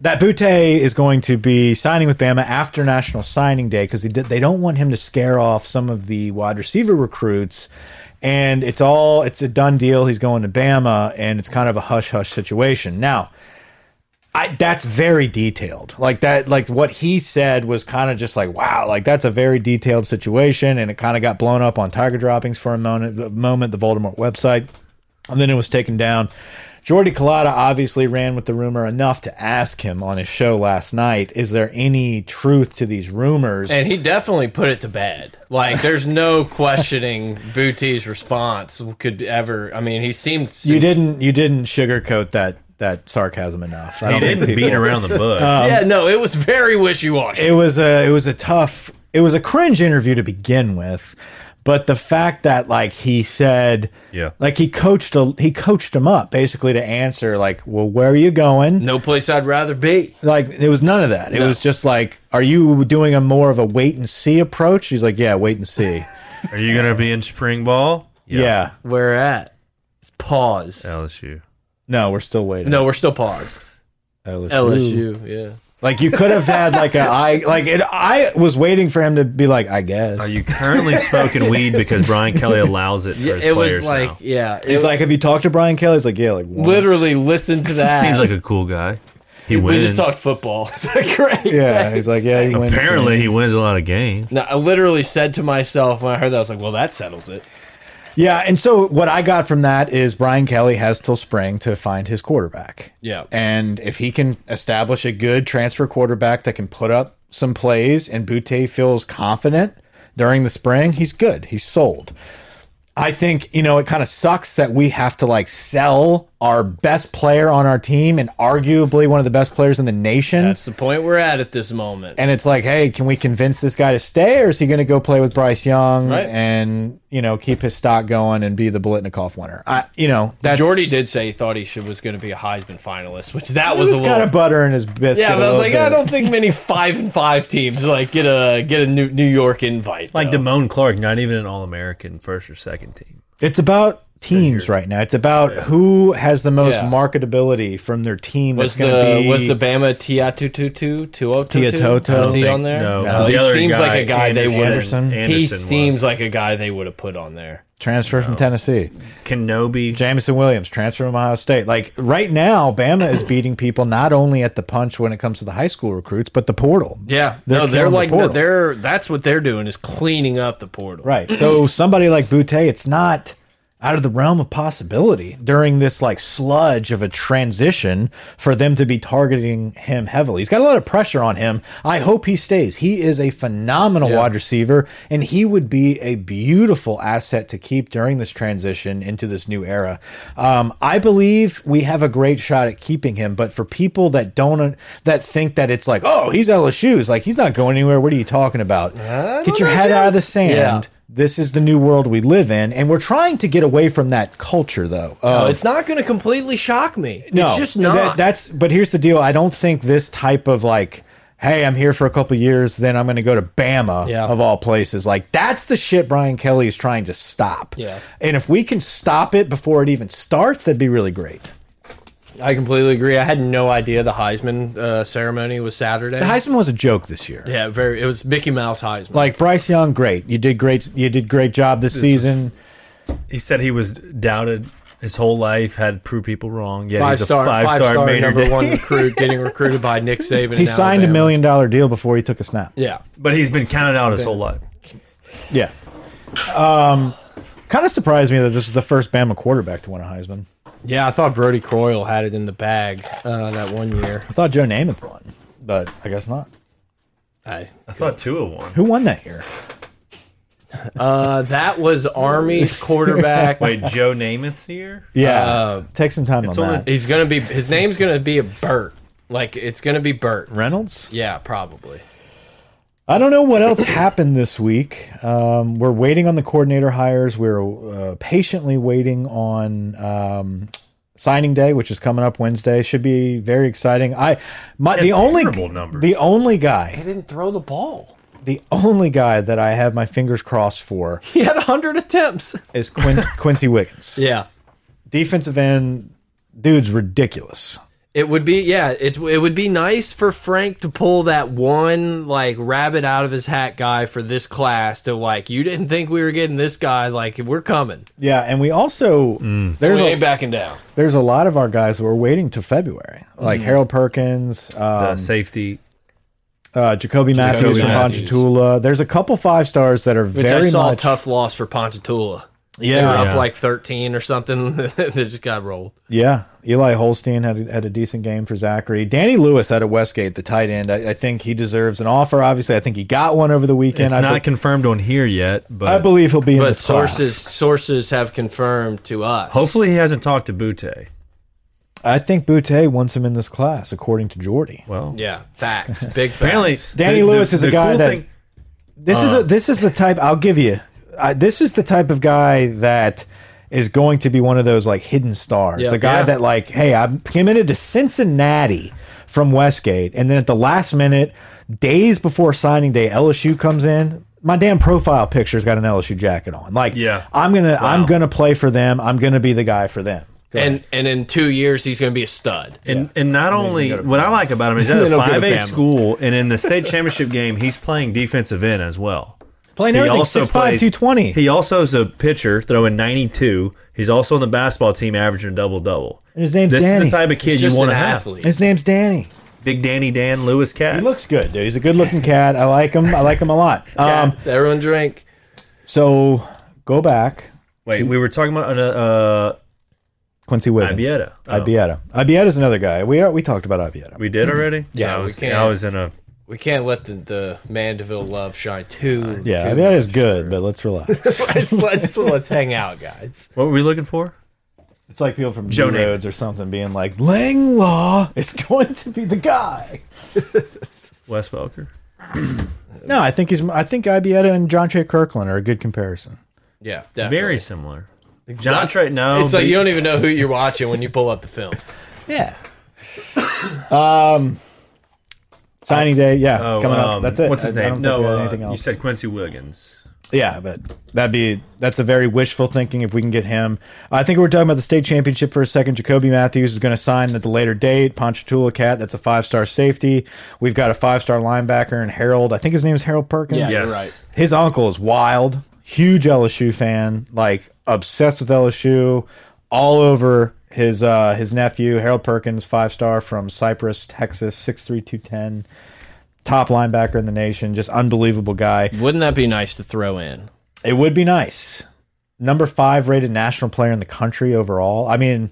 that Butte is going to be signing with Bama after National Signing Day because they don't want him to scare off some of the wide receiver recruits. And it's all it's a done deal. He's going to Bama, and it's kind of a hush hush situation. Now, I that's very detailed. Like that, like what he said was kind of just like, wow, like that's a very detailed situation, and it kind of got blown up on Tiger droppings for a moment. The moment the Voldemort website and then it was taken down. Jordy Collada obviously ran with the rumor enough to ask him on his show last night, is there any truth to these rumors?
And he definitely put it to bed. Like, there's no questioning Bootie's response could ever. I mean, he seemed
you didn't you didn't sugarcoat that that sarcasm enough. I
He
don't think
didn't
people-
beat around the bush.
Uh,
yeah, no, it was very wishy washy.
It was a it was a tough it was a cringe interview to begin with, but the fact that like he said
Yeah.
like he coached a, he coached him up basically to answer like well where are you going
No place I'd rather be.
like it was none of that it
No.
was just like are you doing a more of a wait and see approach he's like yeah wait and see
Are you gonna be in spring ball?
yeah
Where at? Pause.
LSU.
no we're still waiting
No, we're still paused. LSU, yeah.
like you could have had like a I like it I was waiting for him to be like I guess
Are you currently smoking weed because Brian Kelly allows it for his
It
players
was like,
now?
yeah. It
he's like have you talked to Brian Kelly he's like yeah like once."
literally listen to that.
Seems like a cool guy. He
we
wins.
just talked football. It's like, great.
yeah he's like yeah he wins.
Apparently, he wins a lot of games.
No, I literally said to myself when I heard that, I was like, well, that settles it.
Yeah, and so what I got from that is Brian Kelly has till spring to find his quarterback.
Yeah.
And if he can establish a good transfer quarterback that can put up some plays and Butte feels confident during the spring, he's good. He's sold. I think, you know, it kind of sucks that we have to like sell our best player on our team and arguably one of the best players in the nation.
That's the point we're at at this moment.
and it's like, hey, can we convince this guy to stay, or is he going to go play with Bryce Young
Right.
and you know keep his stock going and be the Bolitnikoff winner? I, you know, that's
Jordy did say he thought he should, was going to be a Heisman finalist, which that was a
He's
little.
kind of butter in his biscuit.
yeah, but
a
I was
little
like,
bit.
I don't think many five and five teams like get a get a New, New York invite.
Like
though.
Damone Clark, not even an All American first or second team.
It's about teams right now. It's about who has the most
Yeah.
marketability from their team.
was
that's going
the
to be
was the Bama Tiatututu
Tiatutu?
Tuotutu? Was he on there? Oh,
No.
No.
He
The other
seems
guy,
like a guy they would.
Anderson.
have
Anderson.
He
Anderson
seems like a guy they would have put on there.
transfer from Tennessee.
was. Kenobi.
Jamison Williams transfer from Ohio State. Like right now, Bama is beating people not only at the punch when it comes to the high school recruits, but the portal.
Yeah,
They're
no, they're
killing the
like
portal.
they're that's what they're doing is cleaning up the portal.
Right. So somebody like Butte, it's not out of the realm of possibility during this like sludge of a transition for them to be targeting him heavily. He's got a lot of pressure on him. I hope he stays. He is a phenomenal wide receiver and he would be a beautiful asset to keep during this transition into this new era. Um, I believe we have a great shot at keeping him, but for people that don't that think that it's like, oh, he's LSU's like he's not going anywhere. What are you talking about? Get your head out of the sand
Yeah.
this is the new world we live in and we're trying to get away from that culture though
No,
Uh,
Oh, it's not going to completely shock me. it's just
that-
not.
that's but here's the deal i don't think this type of like hey i'm here for a couple years then i'm going to go to bama
Yeah.
of all places like that's the shit brian kelly is trying to stop
Yeah.
and if we can stop it before it even starts that'd be really great
I completely agree. I had no idea the Heisman uh, ceremony was Saturday.
the heisman was a joke this year
yeah, very. It was Mickey Mouse Heisman.
like bryce young great you did great you did great job this, season
He said he was doubted his whole life, had proved people wrong. Yeah,
five
he's a
star,
five star, Mater
number
Dei.
one recruit getting recruited by Nick Saban.
he signed a million dollar deal before he took a snap
Yeah,
But he's been counted out his whole life.
Yeah. Um, kind of surprised me that this is the first Bama quarterback to win a Heisman.
yeah. I thought Brody Croyle had it in the bag uh, that one year.
I thought Joe Namath won, but I guess not.
I,
I thought Tua won.
Who won that year?
uh, that was Army's quarterback.
Wait, Joe Namath's here?
Yeah.
Uh,
Take some time on
only-
that.
He's gonna be. His name's gonna be a Burt. Like it's gonna be Burt.
Reynolds?
Yeah, probably.
I don't know what else happened this week. Um, we're waiting on the coordinator hires. We're uh, patiently waiting on um, signing day, which is coming up Wednesday. Should be very exciting. I my the only
terrible numbers.
the only guy
He didn't throw the ball.
the only guy that I have my fingers crossed for
He had hundred attempts.
is Quin Quincy Wiggins.
Yeah.
defensive end dude's ridiculous.
It would be yeah, it's it would be nice for Frank to pull that one like rabbit out of his hat guy for this class to like you didn't think we were getting this guy like we're coming.
Yeah, and we also there's
we
a,
ain't backing down.
there's a lot of our guys that are waiting to February, like
Mm-hmm.
Harold Perkins,
Um,
The
uh,
safety.
uh, Jacoby Matthews from
Matthews.
Ponchatoula. There's a couple five stars that are
Which
very
I saw a
much
tough loss for Ponchatoula. They were
yeah,
up
Yeah.
like 13 or something. they just got rolled.
yeah. Eli Holstein had a, had a decent game for Zachary. Danny Lewis out of Westgate, the tight end. I, I think he deserves an offer. Obviously, I think he got one over the weekend.
It's
I,
not
be-
confirmed on here yet, but
I believe he'll be in
But
this class.
sources sources have confirmed to us.
hopefully he hasn't talked to Butte.
I think Boutte wants him in this class, according to Jordy.
Well,
Yeah, facts. Big facts.
apparently
Danny
the- the-
Lewis is a
the
guy
cool
that
thing-
this is a, this is the type I'll give you. I, this is the type of guy that is going to be one of those like hidden stars.
Yeah.
the guy
Yeah.
that like, hey, I'm committed to Cincinnati from Westgate, and then at the last minute, days before signing day, LSU comes in. My damn profile picture's got an LSU jacket on. Like,
Yeah.
I'm gonna I'm gonna play for them. I'm gonna be the guy for them.
and and in two years he's going to be a stud.
And, and not only what I like about him is at
They
a
don't go to
five A
Bama.
school, and in the state championship game, he's playing defensive end as well.
Playing everything 6'5", 220.
He also is a pitcher, throwing ninety two. He's also on the basketball team, averaging a double double.
And his name's
This
Danny.
is the type of kid
He's
you
just
want to
an
have.
athlete.
His name's Danny.
Big Danny Dan Lewis Cats.
He looks good, dude. He's a good looking cat. I like him. I like him a lot. Um,
Cats, everyone drink.
so go back.
Wait, we were talking about uh,
Quincy Williams.
Ibieta. Oh.
Ibieta. Ibieta's another guy. We are, we talked about Ibieta.
we did already.
Yeah,
I
we
was,
can't.
I was in a
We can't let the, the Mandeville love shine too.
Uh, yeah,
too
Ibieta's good, but let's relax.
much. let's, let's let's hang out, guys.
what were we looking for?
it's like people from Joe
Joe Namath.
Rhodes or something being like, Lang Law is going to be the guy.
Wes Welker.
No, I think he's. I think Ibieta and John Trey Kirkland are a good comparison.
Yeah, definitely.
Very similar. John Trey. No,
It's like
but-
you don't even know who you're watching when you pull up the film.
Yeah. um, signing day. Yeah,
oh,
coming up.
um,
That's it.
What's his
I- I don't
name?
think we
no,
had
uh,
anything
you
else.
said Quincy Wiggins.
Yeah, but that'd be that's a very wishful thinking if we can get him. I think we're talking about the state championship for a second. Jacoby Matthews is going to sign at the later date. Ponchatoula Cat, that's a five star safety. We've got a five star linebacker and Harold. I think his name is Harold Perkins.
Yeah. You're
Yes.
right.
His uncle is wild, huge LSU fan, like obsessed with LSU, all over his uh his nephew, Harold Perkins, five star from Cypress, Texas, six three two ten. Top linebacker in the nation, just unbelievable guy.
Wouldn't that be nice to throw in?
It would be nice. Number five rated national player in the country overall. I mean,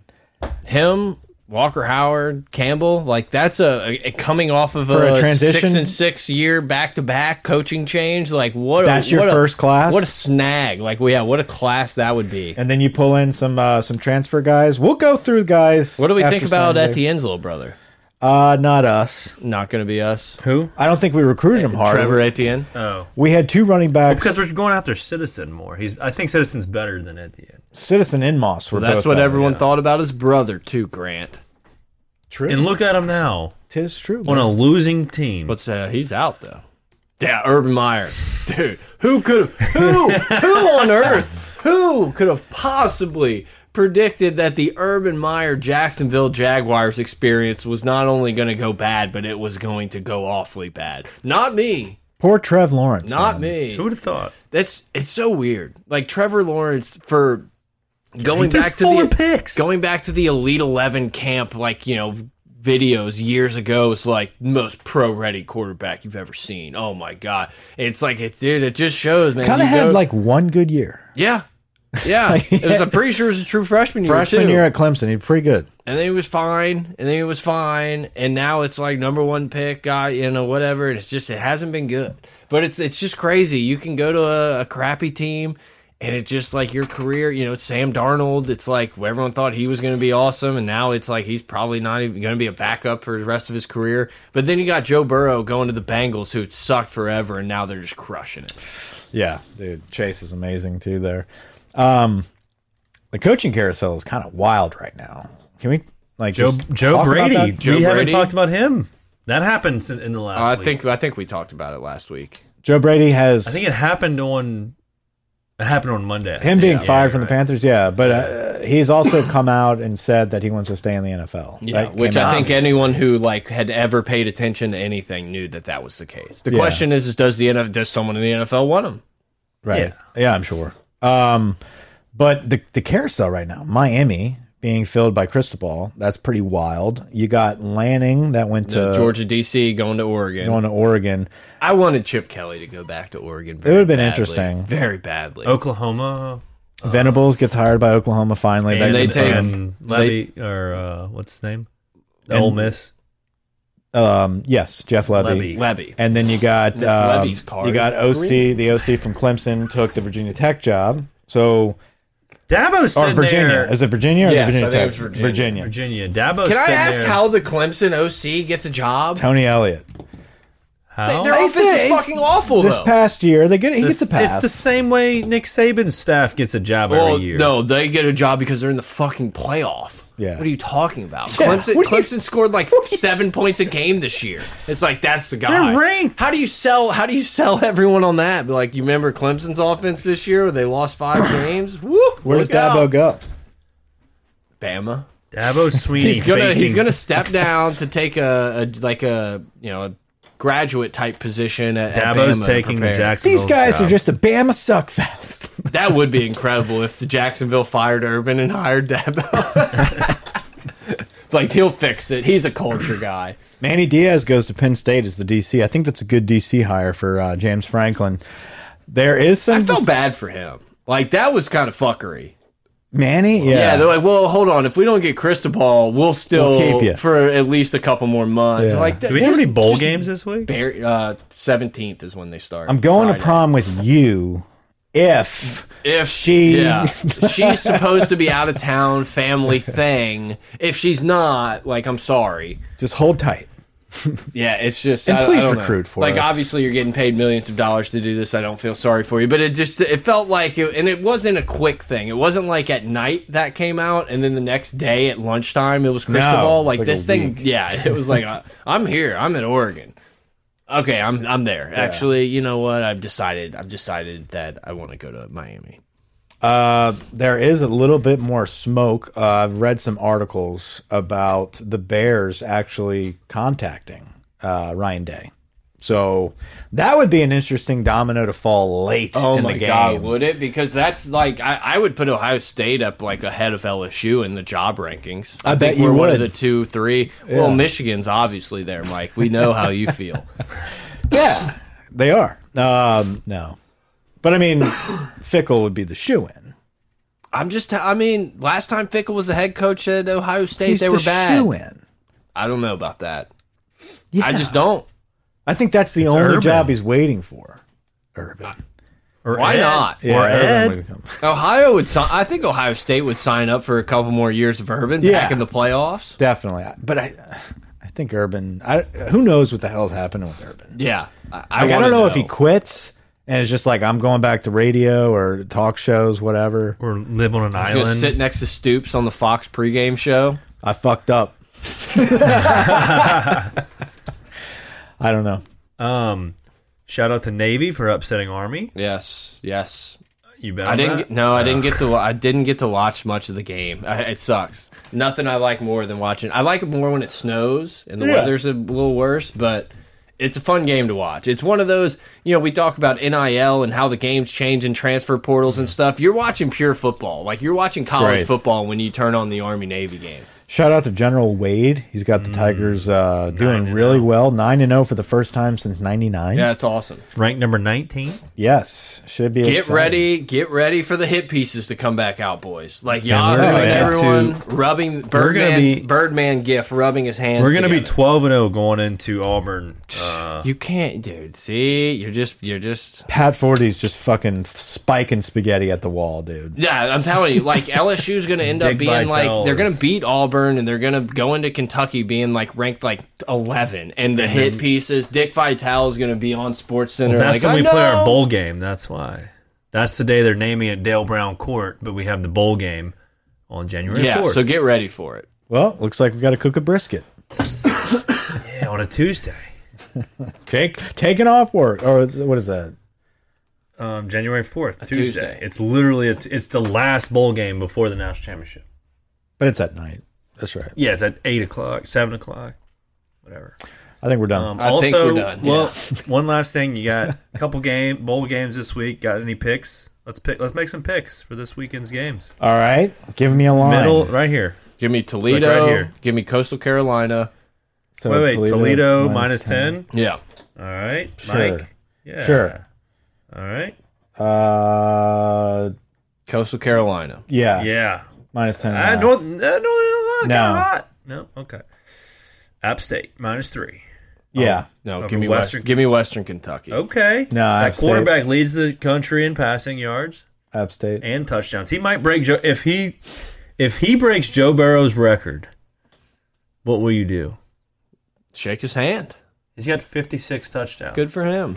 him, Walker Howard, Campbell, like that's a, a- coming off of
For
a,
a transition?
six and six year back to back coaching change. Like what? a-
That's your
what a-
first class?
What a snag! Like yeah, what a class that would be.
and then you pull in some uh, some transfer guys. We'll go through guys.
What do we
after
think about
Sunday.
Etienne's little brother?
Uh, not us.
Not going to be us.
Who?
I don't think we recruited him hard.
Trevor Etienne.
Oh,
We had two running backs.
because we're going after Citizen more. He's. I think Citizen's better than Etienne.
Citizen Inmos. Were
That's
both
what
better.
everyone thought about his brother too. Grant.
True.
And look at him now
Tis true.
on a losing team.
But uh, he's out though. Yeah, Urban Meyer, dude. Who could who who on earth who could have possibly predicted that the Urban Meyer Jacksonville Jaguars experience was not only going to go bad, but it was going to go awfully bad? Not me.
Poor Trev Lawrence.
Not
man.
Who
me.
would have thought?
That's it's so weird. Like Trevor Lawrence for going
He threw
back to
four
the
picks.
going back to the Elite Eleven camp, like you know, videos years ago is like most pro ready quarterback you've ever seen. Oh my god, it's like it's dude. It just shows, man.
Kind of
you
had
go-
like one good year.
yeah. Yeah, it was. I'm pretty sure it was a true freshman year
Freshman
too.
year at Clemson, he was pretty good.
and then he was fine, and then he was fine, and now it's like number one pick guy, you know, whatever. And it's just it hasn't been good, but it's it's just crazy. You can go to a, a crappy team, and it's just like your career. You know, it's Sam Darnold. It's like everyone thought he was going to be awesome, and now it's like he's probably not even going to be a backup for the rest of his career. But then you got Joe Burrow going to the Bengals, who had sucked forever, and now they're just crushing it.
Yeah, dude, Chase is amazing too. There, um, the coaching carousel is kind of wild right now. Can we like
Joe
just
Joe
talk about
Brady.
that?
Joe
we haven't
Brady?
talked about him. That happens in, in the last.
I
week.
think I think we talked about it last week.
Joe Brady has
I think it happened on. It happened on Monday. I
him
think.
being
Yeah,
fired
you're
from the
right.
Panthers. Yeah, but uh, he's also come out and said that he wants to stay in the NFL.
Yeah,
That
which
came
I
out.
think anyone who like had ever paid attention to anything knew that that was the case. The
Yeah.
question is, is does the NFL does someone in the NFL want him?
right? Yeah. I'm sure. Um, but the the carousel right now, Miami being filled by Cristobal, that's pretty wild. You got Lanning that went to
Georgia, DC, going to Oregon.
Uh, going to Oregon.
I wanted Chip Kelly to go back to Oregon. It
would've been interesting.
very badly.
Oklahoma
Venables gets hired by Oklahoma finally.
and,
That-
they take-
and Levy or uh, what's his name?
And-
Ole Miss.
Um, yes, Jeff Levy.
Levy.
Levy.
And then you got
Miss
um,
Levy's car
you got
is
OC, the OC from Clemson took the Virginia Tech job. So
Dabo's
or
sitting
Virginia.
there.
Is it Virginia or
Yes,
Virginia
I think it
Tech?
was Virginia.
Virginia.
Virginia. Dabo's
Can I
sitting
ask
there.
how the Clemson OC gets a job?
Tony Elliott.
How?
Their offense
said-
is fucking awful,
This
though.
past year, they get he gets a
It's
pass.
the same way Nick Saban's staff gets a job
well,
every year.
no, they get a job because they're in the fucking playoff.
Yeah.
What are you talking about?
Yeah,
Clemson,
what are you-
Clemson scored like seven points a game this year. It's like that's the guy.
They're ranked.
How do you sell? How do you sell everyone on that? Be Like you remember Clemson's offense this year? They lost five games. Woo,
Where does
look out.
Dabo go?
Bama.
Dabo Sweeney.
He's gonna
facing,
he's gonna step down to take a, a like a you know a graduate type position at at
Dabo's
Bama,
taking the
prepare.
Jacksonville.
These guys
job.
are just a Bama suck fest.
That would be incredible if the Jacksonville fired Urban and hired Dabo. like he'll fix it. He's a culture guy.
Manny Diaz goes to Penn State as the DC. I think that's a good DC hire for uh, James Franklin. There is some
I felt bad for him. Like that was kind of fuckery.
Manny. Yeah,
Yeah. they're like, well, hold on. If we don't get Cristobal, we'll still
We'll keep ya.
for at least a couple more months.
Yeah.
Like,
Do we have any bowl games this week?
uh, Seventeenth is when they start.
I'm going to
Friday.
prom with you if
If
She-
yeah, she's supposed to be out of town, family thing. If she's not, like, I'm sorry.
just hold tight.
Yeah, it's just
And
I- I
please
don't know.
recruit for
like
us.
obviously you're getting paid millions of dollars to do this. I don't feel sorry for you, but it just it felt like it, and it wasn't a quick thing. It wasn't like at night that came out, and then the next day at lunchtime it was Cristobal.
it's
like,
like
this
a
thing,
week.
yeah, it was like I, I'm here, I'm in Oregon. Okay, I'm I'm there. Actually, you know what? I've decided. I've decided that I want to go to Miami.
Uh, there is a little bit more smoke. Uh, I've read some articles about the Bears actually contacting uh, Ryan Day. So that would be an interesting domino to fall late
Oh
in the game.
Oh would it? Because that's like I, I would put Ohio State up like ahead of LSU in the job rankings.
I bet
think
you
we're one of the
would.
two, three. Well, Michigan's obviously there, Mike. We know how you feel.
Yeah, they are. Um, no, but I mean, Fickle would be the shoe in.
I'm just. I mean, last time Fickle was the head coach at Ohio State, they were bad.
shoe in.
I don't know about that. I just don't.
I think that's the only
Urban.
job he's waiting for. Urban.
Or
Why
Ed?
not?
Or
Urban
Ed?
would come.
Ohio would. si- I think Ohio State would sign up for a couple more years of Urban
Yeah.
back in the playoffs.
Definitely. I- But I, I think Urban. I who knows what the hell's happening with Urban.
Yeah, I, I,
Like, I
wanna
don't know, if he quits and it's just like I'm going back to radio or talk shows, whatever.
Or live on an
He's gonna
island?
sit next to Stoops on the Fox pregame show.
I fucked up. I don't know.
Um, shout out to Navy for upsetting Army.
Yes, yes.
You bet.
I
on
didn't.
that?
Get, no, I didn't get to. I didn't get to watch much of the game. I, it sucks. Nothing I like more than watching. I like it more when it snows and the
Yeah.
weather's a little worse, but. It's a fun game to watch. It's one of those, you know, we talk about NIL and how the game's change and transfer portals
Mm.
and stuff. You're watching pure football. Like, you're watching college
great.
football when you turn on the Army Navy game.
Shout out to General Wade. He's got
Mm,
the Tigers uh, doing really well. 9 and 0 for the first time since 99.
Yeah, it's awesome.
ranked number 19.
Yes. Should be
Get
exciting.
ready, get ready for the hit pieces to come back out, boys. Like y'all
we're
are
gonna
like
get
everyone rubbing Birdman,
be-
Birdman gif rubbing his hands.
We're going to be
together.
12 and 0 going into Auburn. Uh,
you can't, dude. See, you're just, you're just.
Pat Forty's just fucking spiking spaghetti at the wall, dude.
Yeah, I'm telling you, like LSU's going to end up
Dick
being like
Vitale's.
they're going to beat Auburn and they're going to go into Kentucky being like ranked like 11, and the hit pieces. Dick Vitale's going to be on Sports Center. like,
that's when
I
we play our
know!
bowl game. That's why. That's the day they're naming it Dale Brown Court, but we have the bowl game on January
Yeah,
4th.
so get ready for it.
Well, looks like we got to cook a brisket.
yeah, on a Tuesday.
Take taking off work or is- what is that?
Um, January 4th, Tuesday.
Tuesday.
It's literally a t it's the last bowl game before the national championship.
But it's at night. That's right.
Yeah, it's at 8 o'clock, 7 o'clock, whatever.
I think we're done.
Um,
I
also,
think we're done,
Well, one last thing. You got a couple game bowl games this week. Got any picks? Let's pick. Let's make some picks for this weekend's games.
All right, give me a line.
Middle right here.
Give me Toledo.
here.
Give me Coastal Carolina.
So
wait, wait. Toledo, minus, minus 10.
Yeah.
All right,
Sure.
Mike. Yeah.
Sure.
All right.
Uh,
Coastal Carolina.
yeah,
Yeah.
minus ten.
Uh,
and a half.
North, uh, North Carolina got
No.
hot. No. Okay. App State minus three.
yeah,
No,
Over
give me
Western- Oh.
Western. Give me Western Kentucky.
Okay.
No, App
that
State-
quarterback leads the country in passing yards.
App State.
and touchdowns. He might break Joe if he if he breaks Joe Burrow's record. What will you do?
Shake his hand.
He's got 56 touchdowns.
Good for him.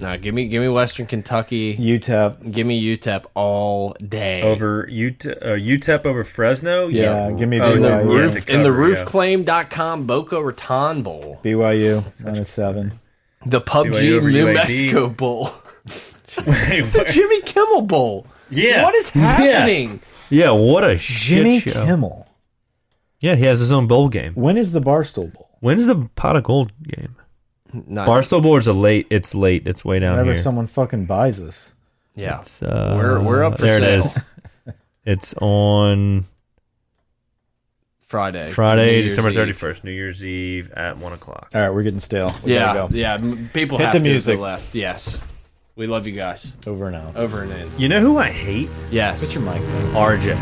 Now give me give me Western Kentucky.
UTEP.
Give me UTEP all day.
over UTEP, uh, UTEP over Fresno.
Yeah, give me
Oh,
In
dude,
the,
yeah,
BYU.
roof,
to
in the
cover, yeah.
roofclaim.com Boca Raton Bowl.
BYU minus seven.
The
BYU
PUBG
over
New
UAB.
Mexico Bowl.
yeah.
Jimmy Kimmel Bowl.
Yeah.
What is happening?
yeah, what a shit
Jimmy
show.
Kimmel.
Yeah, he has his own bowl game.
When is the Barstool Bowl?
When's the pot of gold game?
Not,
Barstool Board's a late. It's late. It's way down
Whenever
here.
someone fucking buys us.
yeah.
It's, uh,
We're- we're up for
there it
sale.
is. It's on
Friday. New
Friday,
Year's
December
Eve.
thirty first, New Year's Eve at one o'clock.
All right, we're getting stale. We
Yeah.
gotta
Yeah. m- People
Hit
have
the
to
music.
To the left. Yes. We love you guys.
go. Over and out.
Over and in.
You know who I hate?
Yes.
Put your mic down.
RJ.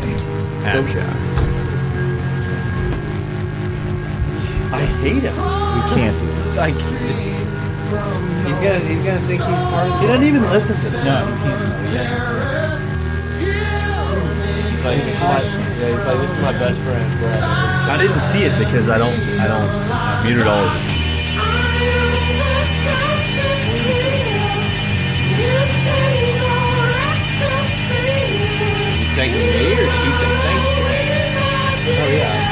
Abshar.
I hate him.
We can't do this.
Like he's gonna he's gonna think he's part of
He doesn't even listen to it. No, he can't.
He's like, this is my, yeah, he's like, this is my best friend. Bro.
I didn't see it because I don't. I don't. I muted all of it.
You thanking me or he said thanks for it? Oh yeah.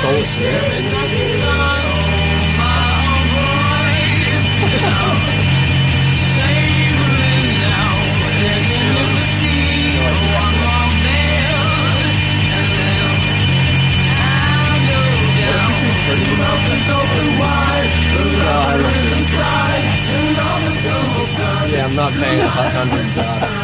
Stole Yeah, I'm not paying a hundred dollars.